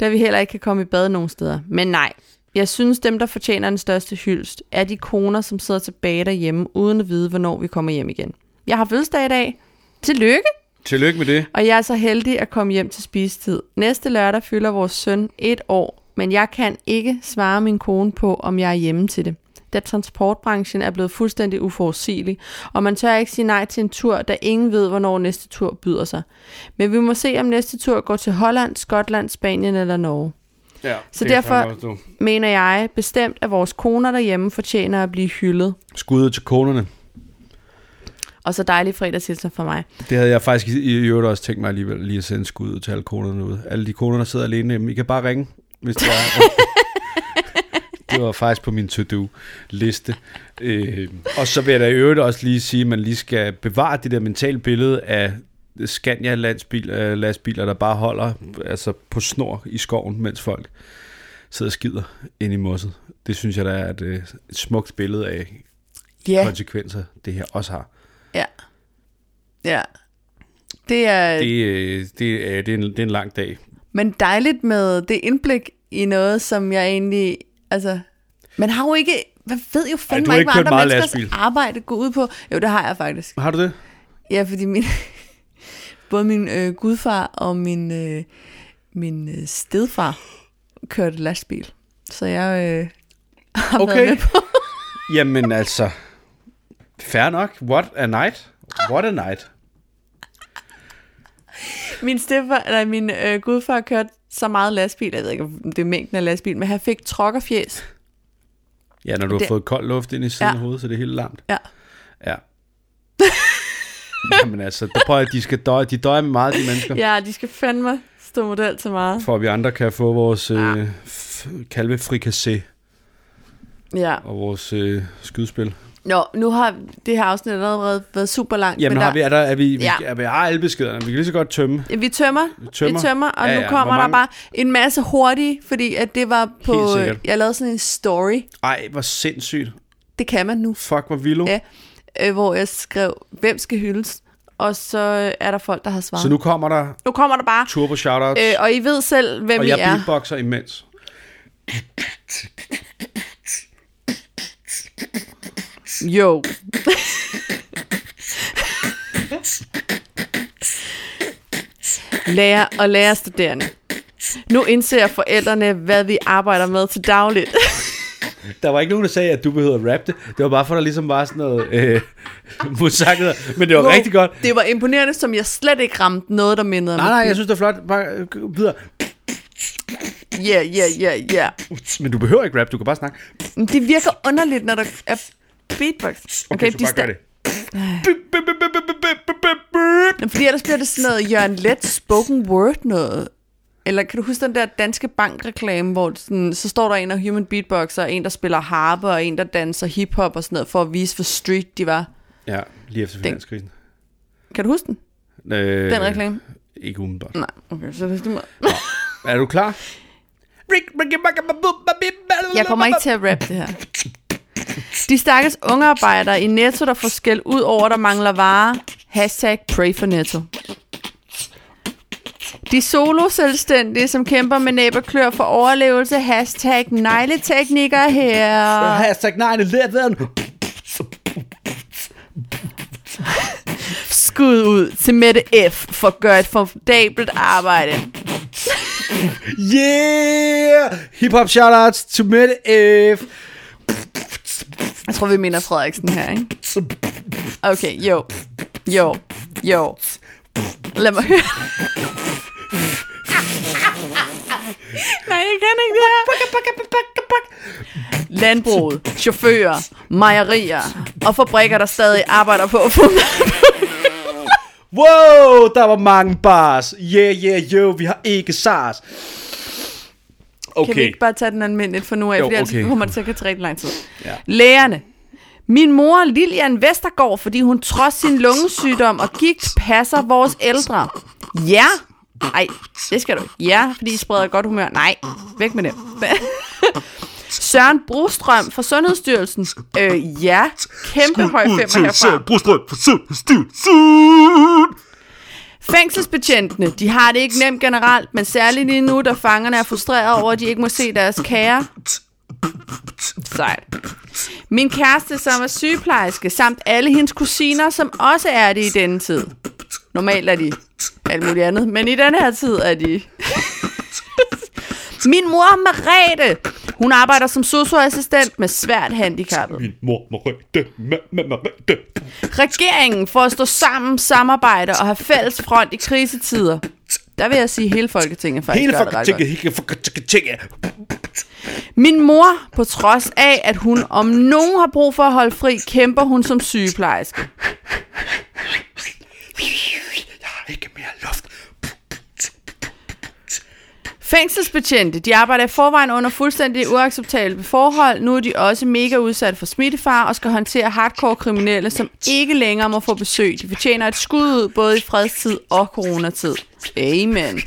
da vi heller ikke kan komme i bad nogen steder. Men nej, jeg synes dem, der fortjener den største hyldest, er de koner, som sidder tilbage derhjemme, uden at vide, hvornår vi kommer hjem igen. Jeg har fødselsdag i dag. Tillykke! Tillykke med det. Og jeg er så heldig at komme hjem til spisetid. Næste lørdag fylder vores søn et år, men jeg kan ikke svare min kone på, om jeg er hjemme til det. Da transportbranchen er blevet fuldstændig uforudsigelig, og man tør ikke sige nej til en tur, da ingen ved, hvornår næste tur byder sig. Men vi må se, om næste tur går til Holland, Skotland, Spanien eller Norge. Ja, Så derfor- Mener jeg bestemt, at vores koner derhjemme fortjener at blive hyldet. Skuddet til konerne. Og så dejlig fredagshilsen fra mig. Det havde jeg faktisk i i øvrigt også tænkt mig alligevel lige at sende skud ud til alle konerne ud. Alle de koner, der sidder alene, jamen, I kan bare ringe, hvis det er. det var faktisk på min to-do-liste. Øh, og så vil jeg da i øvrigt også lige sige, at man lige skal bevare det der mentale billede af Scania landsbil, øh, lastbiler, der bare holder altså på snor i skoven, mens folk sidder og skider ind i mosset. Det synes jeg, der er et, øh, et smukt billede af Ja, konsekvenser, det her også har. ja. Det er, det... Det, øh, det, er, det, er en, det er en lang dag. Men dejligt med det indblik i noget, som jeg egentlig... Altså, man har jo ikke... Man ved jo du fandme har ikke, ikke hvad kørt andre meget menneskers lastbil. arbejde går ud på. Jo, det har jeg faktisk. Har du det? Ja, fordi min, både min øh, gudfar og min, øh, min øh, stedfar kørte lastbil. Så jeg øh, har okay. været Okay. med på. Jamen altså, fair nok. What a night. What a night. Min, stedfar, eller min øh, gudfar kørte så meget lastbil. Jeg ved ikke, om det er mængden af lastbil, men han fik trokkerfjes. Ja, når du har Det- fået kold luft ind i siden Ja. af hovedet, så er det helt larmt. Ja. Ja. Jamen altså, der prøver jeg, de skal døje. De døjer med meget, de mennesker. Ja. Ja, de skal fandme stå model til meget. For at vi andre kan få vores øh, f- kalvefrikassé Ja. og vores øh, skydespil. Nå, nu har det her afsnit allerede været super langt. Jamen men har vi, er der, er vi, vi, Ja. er, vi har alle beskederne. Vi kan lige så godt tømme. vi... Vi tømmer, Tømmer. vi tømmer og Ja, ja, ja, nu kommer hvor der mange- bare en masse hurtige, fordi at det var på... Helt sikkert. Jeg lavede sådan en story, Ej, hvor sindssygt. det kan man nu, Fuck, hvor vildt. Ja. øh, hvor jeg skrev, hvem skal hyldes? Og så øh, er der folk, der har svaret. Så nu kommer der nu kommer der bare, turbo shoutouts, øh, og I ved selv, hvem og I jeg er. beatboxer imens. Jo. Lærer og lærerstuderende. Nu indser forældrene, hvad vi arbejder med til dagligt. Der var ikke nogen, der sagde, at du behøvede at rappe det. Det var bare for, at der ligesom var sådan noget øh, musikket. Men det var Wow, rigtig godt. Det var imponerende, som jeg slet ikke ramte noget, der mindede om. Nej, nej, jeg synes, det er flot. Bare øh, videre. Ja, ja, ja, ja. Men du behøver ikke rap, du kan bare snakke. Okay, Men Det virker underligt, når der er beatbox. Okay, så bare gør det. det. Fordi ellers bliver det sådan noget Jørgen Let spoken word noget. Eller kan du huske den der danske bankreklame, hvor det sådan, så står der en af human beatboxer, og en der spiller harpe, og en der danser hiphop og sådan noget, for at vise, hvor street de var. Ja, lige efter finanskrisen. Kan du huske den? Øh, Den reklame? Ikke umiddelbart. Nej, okay, så hvis du må... Er du klar? Jeg kommer ikke til at rappe det her. De stakkels unge arbejdere i Netto, der får skæld ud over, der mangler varer. Hashtag pray for Netto. De solo-selvstændige, som kæmper med næb og klør for overlevelse. Hashtag negleteknikker her. Hashtag 9-11. Skud ud til Mette F. for at gøre et formidabelt arbejde. Yeah! Hip-hop shoutouts to Mette F. Jeg tror, vi mener Frederiksen her, ikke? Okay, jo. Jo. Jo. Lad mig høre. Nej, jeg kan ikke det her. Landbruget, chauffører, mejerier og fabrikker, der stadig arbejder på at få mad. Wow, der var mange bars. Yeah, yeah, yo, vi har ikke SARS. Kan vi Okay, ikke bare tage den almindeligt for nu af, Jo, fordi ellers okay. kommer det til at tage rigtig lang tid. Ja. Lægerne. Min mor Lilian Vestergaard, fordi hun trods sin lungesygdom og gigt passer vores ældre. Ja. Nej, det skal du ikke. Ja, fordi I spreder godt humør. Nej, væk med det. Søren Brostrøm fra Sundhedsstyrelsen. Øh, ja. Kæmpe høj femmer herfra. Brostrøm for Sundhedsstyrelsen. Fængselsbetjentene, de har det ikke nemt generelt, men særligt lige nu, da fangerne er frustrerede over, at de ikke må se deres kære. Sejt. Min kæreste, som er sygeplejerske, samt alle hendes kusiner, som også er det i denne tid. Normalt er de alt muligt andet, men i denne her tid er de... Min mor, Merete, hun arbejder som socioassistent med svært handicappet. Min mor Merete, ma- ma- Merete. Regeringen for at stå sammen, samarbejde og have fælles front i krisetider. Der vil jeg sige, at hele Folketinget faktisk hele gør det fucking ret godt. tjekket, hele fucking tjekket. Min mor, på trods af, at hun om nogen har brug for at holde fri, kæmper hun som sygeplejerske. Jeg har ikke mere luft. Fængselsbetjente, de arbejder i forvejen under fuldstændig uacceptable forhold. Nu er de også mega udsat for smittefar og skal håndtere hardcore kriminelle, som ikke længere må få besøg. De fortjener et skud ud både i fredstid og coronatid. Amen.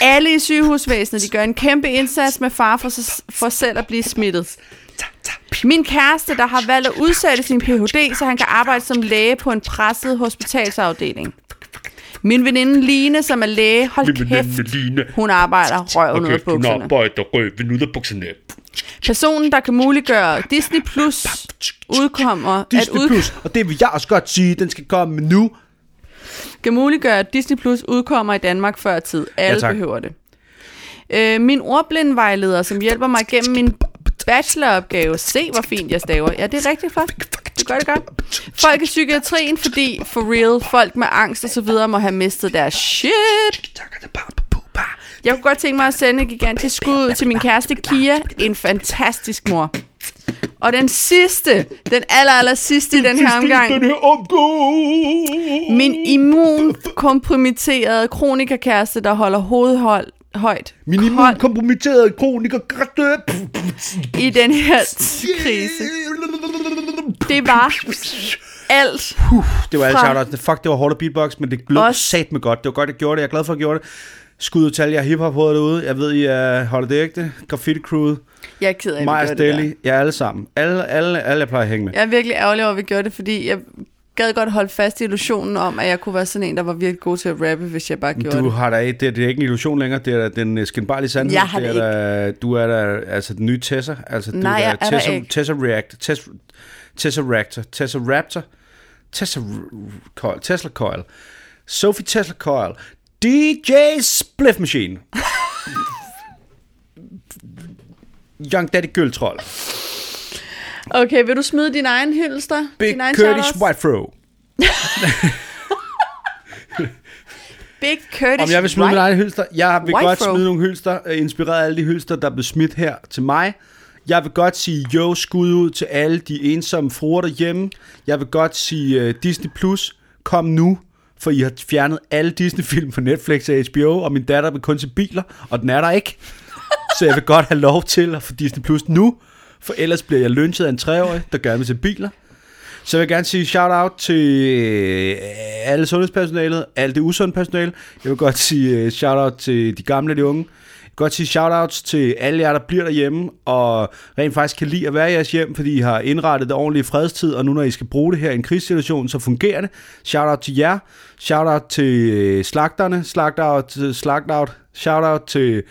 Alle i sygehusvæsenet, de gør en kæmpe indsats med far for, sig, for selv at blive smittet. Min kæreste, der har valgt at udsætte sin Ph.D., så han kan arbejde som læge på en presset hospitalsafdeling. Min veninde Line, som er læge, hold kæft, hun arbejder røven ud af bukserne. arbejder røven ud af bukserne. Personen, der kan muliggøre Disney Plus, udkommer, Disney at ud, Plus, og det vil jeg også godt sige, den skal komme nu. kan muliggøre, at Disney Plus udkommer i Danmark før tid. Alle tak. behøver det. Øh, min ordblindvejleder, som hjælper mig gennem min bacheloropgave. Se, hvor fint jeg staver. Ja, det er rigtig flot. Du gør det godt. Folk i psykiatrien, fordi for real, folk med angst og så videre må have mistet deres shit. Jeg kunne godt tænke mig at sende et gigantisk skud ud til min kæreste Kia, en fantastisk mor. Og den sidste, den aller, aller sidste i den her omgang, Den her omgang. min immunkompromitterede kronikerkæreste, der holder hovedet hold, højt Min Hold. immunkompromitterede kroniker. i den her krise. Det var alt. Det var alt Fra- shoutouts. Fuck, det var hårdt at beatbox, men det lød Også- sat med godt. Det var godt, jeg gjorde det. Jeg er glad for, at jeg gjorde det. Skud ud til alle jer hiphop hoveder derude. Jeg ved, I uh, holder det ægte. Graffiti Crew, Jeg er ked af, at vi Maja gjorde det der. Stelly, jer alle sammen. Alle, alle, alle, jeg plejer at hænge med. Jeg er virkelig ærgerlig over, at vi gjorde det, fordi jeg gad godt holde fast i illusionen om, at jeg kunne være sådan en, der var virkelig god til at rappe, hvis jeg bare gjorde Du det. har da ikke, det, er, det er ikke en illusion længere, det er da den øh, skinbarlige sandhed. Jeg har det er det da, Du er da altså den nye Tessa. Altså, du Nej, jeg er er da der Tessa, ikke. Tessa React, Tessa, Tessa Raptor, Tessa Raptor, Tessa R- Coil, Tesla Coil, Sophie Tesla Coil, DJ Spliff Machine. Young Daddy Gøltroll. Okay, vil du smide din egen hylster? Big din egen Curtis shoutouts? White Fro. Big Curtis Om jeg vil smide White. min egen hylster? Jeg vil White godt throw. smide nogle hylster, øh, inspireret af alle de hylster, der blev smidt her til mig. Jeg vil godt sige jo skud ud til alle de ensomme fruer derhjemme. Jeg vil godt sige uh, Disney Plus, kom nu, for I har fjernet alle Disney-film på Netflix og HBO, og min datter vil kun til biler, og den er der ikke. Så jeg vil godt have lov til at få Disney Plus nu, for ellers bliver jeg lynchet af en treårig, der gerne vil til biler. Så vil jeg gerne sige shout-out til øh, alle sundhedspersonalet, alt det usunde personale. Jeg vil godt sige øh, shout-out til de gamle og de unge. Jeg vil godt sige shout-outs til alle jer, der bliver derhjemme, og rent faktisk kan lide at være i jeres hjem, fordi I har indrettet det ordentligt i fredstid, og nu når I skal bruge det her i en krigssituation, så fungerer det. Shout-out til jer. Shout-out til øh, slagterne. Slagt-out. Slagt-out. Shout-out til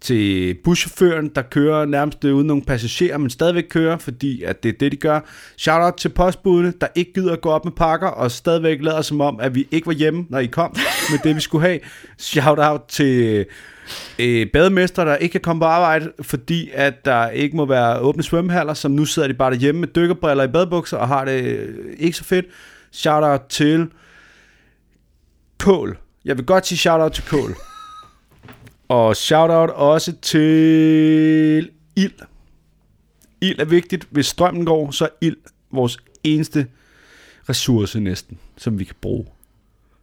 til buschaufføren, der kører nærmest øh, uden nogen passagerer, men stadigvæk kører, fordi at det er det, de gør. Shoutout til postbudene, der ikke gider at gå op med pakker, og stadigvæk lader som om, at vi ikke var hjemme, når I kom med det, vi skulle have. Shoutout til øh, bademester, der ikke kan komme på arbejde, fordi at der ikke må være åbne svømmehaller, som nu sidder de bare derhjemme med dykkerbriller i badebukser og har det øh, ikke så fedt. Shoutout til Kål. Jeg vil godt sige shoutout til Kål. Og shoutout også til ild. Ild er vigtigt. Hvis strømmen går, så er ild vores eneste ressource næsten, som vi kan bruge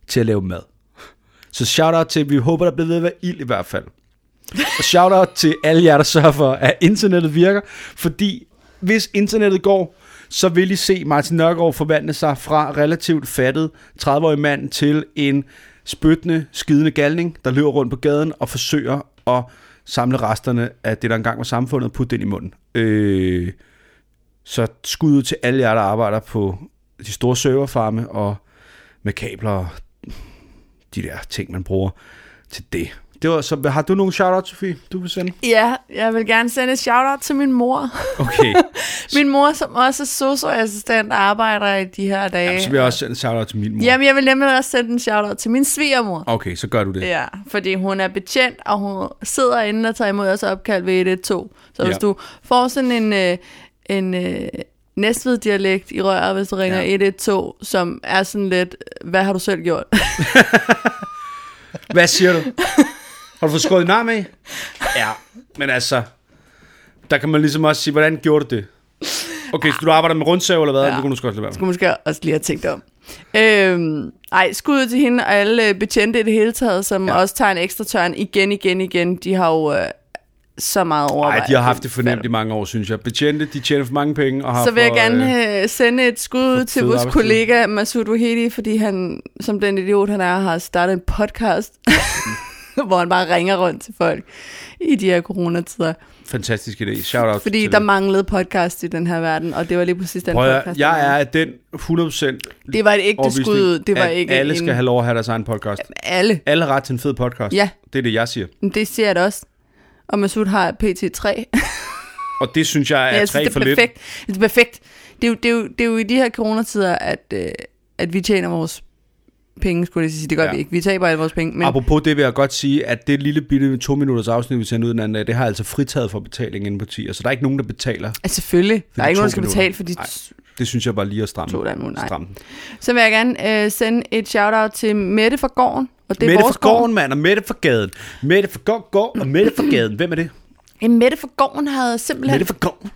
til at lave mad. Så shoutout til, vi håber, der bliver ved at være ild i hvert fald. Og shoutout til alle jer, der sørger for, at internettet virker, fordi hvis internettet går, så vil I se Martin Nørgaard forvandle sig fra relativt fattet 30-årig mand til en spyttende, skidende galning, der løber rundt på gaden og forsøger at samle resterne af det, der engang var samfundet, og putte det ind i munden. Øh, så skud ud til alle jer, der arbejder på de store serverfarme og med kabler og de der ting, man bruger til det. Det var, så har du nogle shout-out, Sofie, du vil sende? Ja, jeg vil gerne sende et shout-out til min mor. Okay, Øh. Min mor, som også er socioassistent, arbejder i de her dage. så vil jeg også sende en shout-out til min mor. Jamen, jeg vil nemlig også sende en shout-out til min svigermor. Okay, så gør du det. Ja, fordi hun er betjent, og hun sidder inde og tager imod os opkald ved 112. Så hvis Ja. du får sådan en, øh, en øh, Næstved-dialekt i røret, hvis du ringer Ja. ja. 112, som er sådan lidt, hvad har du selv gjort? Hvad siger du? Har du fået skåret en arm af? Ja, men altså, der kan man ligesom også sige, hvordan gjorde du det? Okay, så du arbejder med rundsav eller hvad? Ja. Ja. Det kunne du sgu godt lade være med. skulle måske også lige have tænkt om. Øhm, ej, skud ud til hende og alle øh, betjente i det hele taget, som Ja. ja. også tager en ekstra tørn igen, igen, igen. De har jo øh, så meget overvej. Nej, de har haft det fornemt i mange år, synes jeg. Betjente, de tjener for mange penge og har Så vil jeg for, gerne øh, sende et skud ud til fede vores arbejdstider. kollega Masoud Ohedi, fordi han, som den idiot han er, har startet en podcast. hvor han bare ringer rundt til folk i de her coronatider. Fantastisk idé. Shout out Fordi til der dem. manglede podcast i den her verden, og det var lige præcis den Prøv at, høre, podcast. der jeg manglede. er den 100% Det var et ægte overbevisning, skud, det var at ikke alle en... skal have lov at have deres egen podcast. Alle. Alle har ret til en fed podcast. Ja. Det er det, jeg siger. Men Det siger jeg da også. Og Masud har PT3. Og det synes jeg er jeg tre synes, for det er lidt. perfekt. Det er perfekt. Det er, jo, det, er jo, det er jo i de her coronatider, at, øh, at vi tjener vores penge, skulle jeg lige sige. Det gør Ja. ja. vi ikke. Vi taber alle vores penge. Men Men... Apropos det vil jeg godt sige, at det lille bitte to minutters afsnit, vi sender ud den anden dag, det har altså fritaget for betaling inde på 10. Altså, der er ikke nogen, der betaler. altså, selvfølgelig. Der er de ikke to nogen, der skal minutter. betale for de... Nej. Det synes jeg bare lige at stramme. To der er nogen, nej. stramme. den. Så vil jeg gerne øh, sende et shout-out til Mette fra Gården. Og det er Mette vores fra gården, mand, og Mette fra gaden. Mette fra gård, gård og Mette fra gaden. Hvem er det? Jamen, Mette fra Gården havde simpelthen Mette fra gården.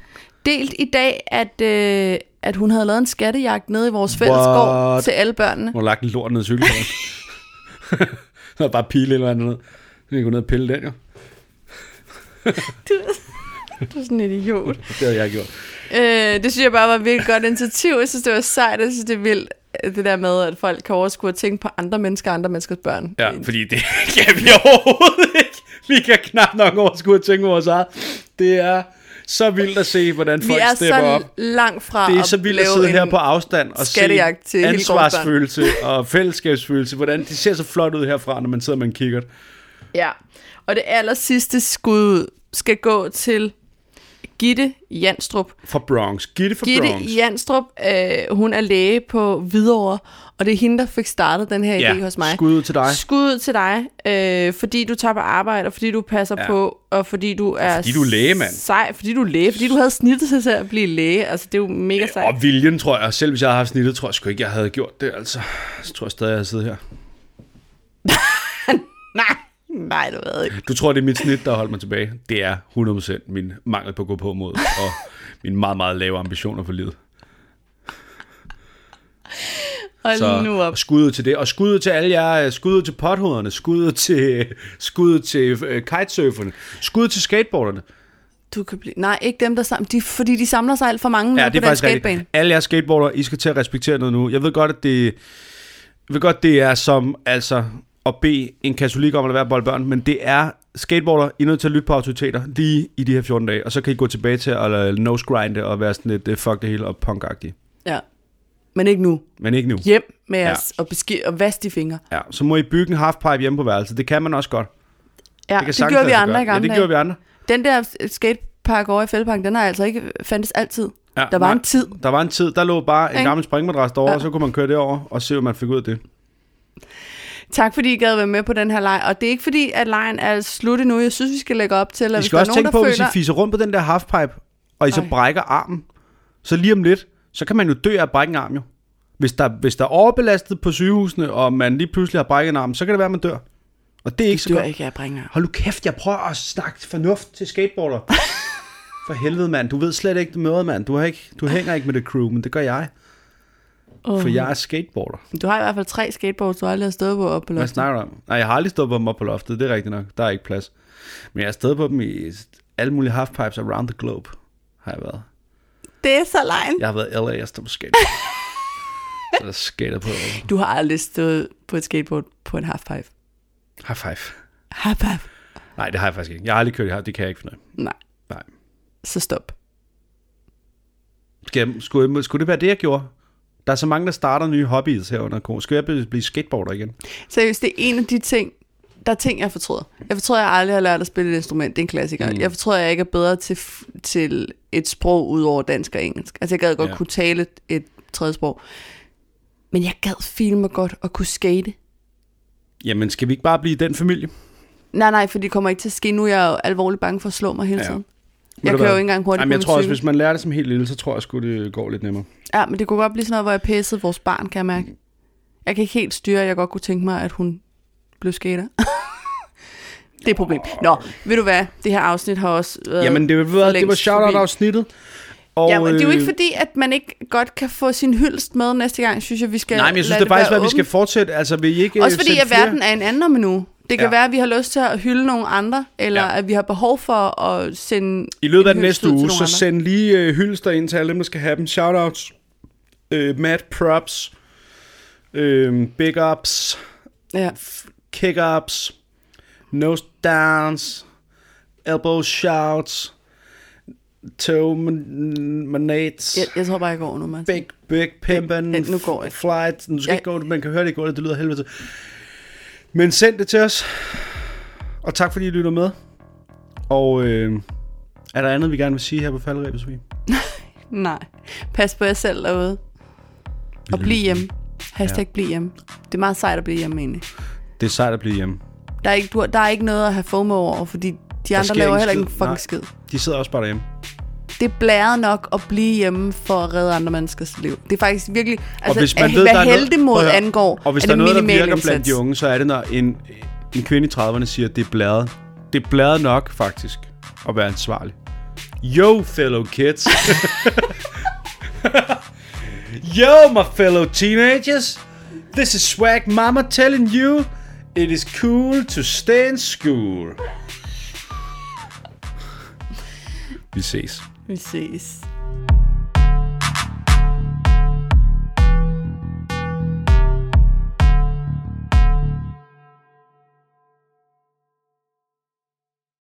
delt i dag, at, øh, at hun havde lavet en skattejagt nede i vores fællesgård What? til alle børnene. Hun har lagt en lort ned i cykelkøren. Der er bare pile eller andet ned. Så kan jeg gå ned og pille den, jo. Du er sådan en idiot. Det havde jeg gjort. Øh, det synes jeg bare var et virkelig godt initiativ. Jeg synes, det var sejt. Jeg synes, det er vildt, øh, det der med, at folk kan overskue at tænke på andre mennesker og andre menneskers børn. Ja, fordi det kan vi overhovedet ikke. Vi kan knap nok overskue at tænke vores eget. Det er så vildt at se, hvordan Vi folk er stepper så op. langt fra Det er så vildt at lave sidde her en- på afstand og se skattejagt til hele ansvarsfølelse og fællesskabsfølelse. Hvordan det ser så flot ud herfra, når man sidder med en kikkert. Ja, og det aller sidste skud skal gå til Gitte Janstrup. Fra Bronx. Gitte fra Gitte Bronx. Janstrup, øh, hun er læge på Hvidovre, og det er hende, der fik startet den her Ja, idé hos mig. skud ud til dig. Skud ud til dig, øh, fordi du tager på arbejde, og fordi du passer Ja. ja. på, og fordi du er... fordi du er læge, mand. Sej, fordi du er læge, fordi du havde snittet sig til at blive læge. Altså, det er jo mega sejt. Og viljen, tror jeg. Selv hvis jeg havde haft snittet, tror jeg sgu ikke, jeg havde gjort det. Altså, så tror jeg stadig, jeg havde siddet her. Nej, nej, du ved ikke. Du tror, det er mit snit, der har holdt mig tilbage. Det er 100% min mangel på at gå på mod, og mine meget, meget lave ambitioner for livet. Hold Så nu op. og skud ud til det. Og skud ud til alle jer. øh, Skud ud til pothovederne. Skud ud til, skud ud til øh, kitesurferne. Skud ud til skateboarderne. Du kan blive... Nej, ikke dem, der samler... De, fordi de samler sig alt for mange ja, Ja, på det er den faktisk skatebane. rigtigt. Alle jer skateboarder, I skal til at respektere noget nu. Jeg ved godt, at det, jeg ved godt, det er som altså at bede en katolik om at lade være bolde børn, men det er skateboarder, I er nødt til at lytte på autoriteter lige i de her 14 dage, og så kan I gå tilbage til at øh, nose-grinde og være sådan lidt øh, fuck det hele og punk -agtige. Ja. Men ikke nu. Men ikke nu. Hjem med Ja. jeres, og, beski- og vask de fingre. Ja, så må I bygge en halfpipe hjemme på værelset. Det kan man også godt. Ja, kan det, det sagtens gjorde vi lade sig andre gøre. i gamle Ja, det dage. gjorde vi andre. Den der øh, skatepark over i Fældeparken, den har altså ikke fandtes altid. Ja, der var nej. en tid. Der var en tid, der lå bare en Ikke? gammel springmadras derovre, Ja. og så kunne man køre derover og se, hvad man fik ud af det. Tak fordi I gad være med på den her leg. Og det er ikke fordi, at lejen er slut endnu. Jeg synes, vi skal lægge op til, at I hvis skal der også er nogen, tænke der på, føler... hvis I fiser rundt på den der halfpipe, og I så Ej. brækker armen, så lige om lidt, så kan man jo dø af at brække en arm jo. Hvis der, hvis der er overbelastet på sygehusene, og man lige pludselig har brækket en arm, så kan det være, at man dør. Og det er ikke så dør godt. ikke, jeg bringer. Hold nu kæft, jeg prøver at snakke fornuft til skateboarder. For helvede, mand. Du ved slet ikke det møde, mand. Du, har ikke, du hænger ikke med det crew, men det gør jeg. For jeg er skateboarder. Du har i hvert fald tre skateboards, du aldrig har stået på op på Hvad loftet. snakker du om? Nej, jeg har aldrig stået på dem op på loftet, det er rigtigt nok. Der er ikke plads. Men jeg har stået på dem i alle mulige halfpipes around the globe, har jeg været. Det er så lejen. Jeg har været i LA, jeg stod på skate. Så er der skater på. Du har aldrig stået på et skateboard på en halfpipe. High five. Halfpipe? Nej, det har jeg faktisk ikke. Jeg har aldrig kørt i half, det kan jeg ikke finde ud af. Nej, Nej. så stop. Skal jeg, skulle, skulle det være det, jeg gjorde? Der er så mange, der starter nye hobbies her under corona. Skal jeg blive- blive skateboarder igen? Seriøst, det er en af de ting, der er ting, jeg fortryder. Jeg fortryder, at jeg aldrig har lært at spille et instrument. Det er en klassiker. Mm. Jeg fortryder, at jeg ikke er bedre til, f- til et sprog ud over dansk og engelsk. Altså, jeg gad godt Ja. ja. kunne tale et tredje sprog. Men jeg gad filme godt og kunne skate. Jamen, skal vi ikke bare blive den familie? Nej, nej, for det kommer ikke til at ske. Nu er jeg jo alvorligt bange for at slå mig hele Ja. ja. tiden. Ved Jeg du kører hvad? jo ikke engang hurtigt Jamen, på jeg min tror også, cykel. hvis man lærer det som helt lille, så tror jeg sgu, det går lidt nemmere. Ja, men det kunne godt blive sådan noget, hvor jeg pissede vores barn, kan jeg mærke. Jeg kan ikke helt styre, at jeg godt kunne tænke mig, at hun blev skater. det er et problem. Nå, ved du hvad? Det her afsnit har også været Jamen, det, var, det var forlængst forbi. shout-out-afsnittet. Og, Ja, men det er jo øh, ikke fordi, at man ikke godt kan få sin hyldest med næste gang, synes jeg, vi skal Nej, men jeg synes lade det er faktisk, være at vi skal åbent. fortsætte. Altså, vil I ikke øh, Også fordi, sende at verden er en anden om nu. Det kan Ja. ja. være, at vi har lyst til at hylde nogle andre, eller Ja. ja. at vi har behov for at sende I løbet af en den hyldest næste ud til uge, nogle så andre. send lige øh, hylster ind til alle dem, der skal have dem. Shoutouts, øh, mad props, øh, big ups, Ja. kick ups, Nose downs. Elbow shouts. Toe man- manates. Jeg, jeg tror bare, jeg går nu, Mads. Big, big pimpin. Den- den- nu går jeg. Flight. Nu skal Jeg- ikke gå, man kan høre det i gulvet, det lyder af helvede. til. Men send det til os. Og tak fordi I lytter med. Og øh, er der andet, vi gerne vil sige her på faldrebet, Sofie? Nej. Pas på jer selv derude. Og bliv hjemme. Hashtag ja. bliv hjemme. Det er meget sejt at blive hjemme egentlig. Det er sejt at blive hjemme. Der er ikke, du, der er ikke noget at have FOMO over, fordi de andre sker laver ingen heller ikke en skid. fucking Nej. skid. De sidder også bare derhjemme. Det er blæret nok at blive hjemme for at redde andre menneskers liv. Det er faktisk virkelig... Altså, hvis at- man ved, der er hvad noget- heldemod Prøv at høre. angår, Og hvis er der er det noget, der minimal virker indsats. blandt de unge, så er det, når en, en kvinde i 30'erne siger, at det er bladet. Det er bladet nok, faktisk, at være ansvarlig. Yo, fellow kids. Yo, my fellow teenagers. This is Swag Mama telling you, it is cool to stay in school. Vi ses. Vi ses.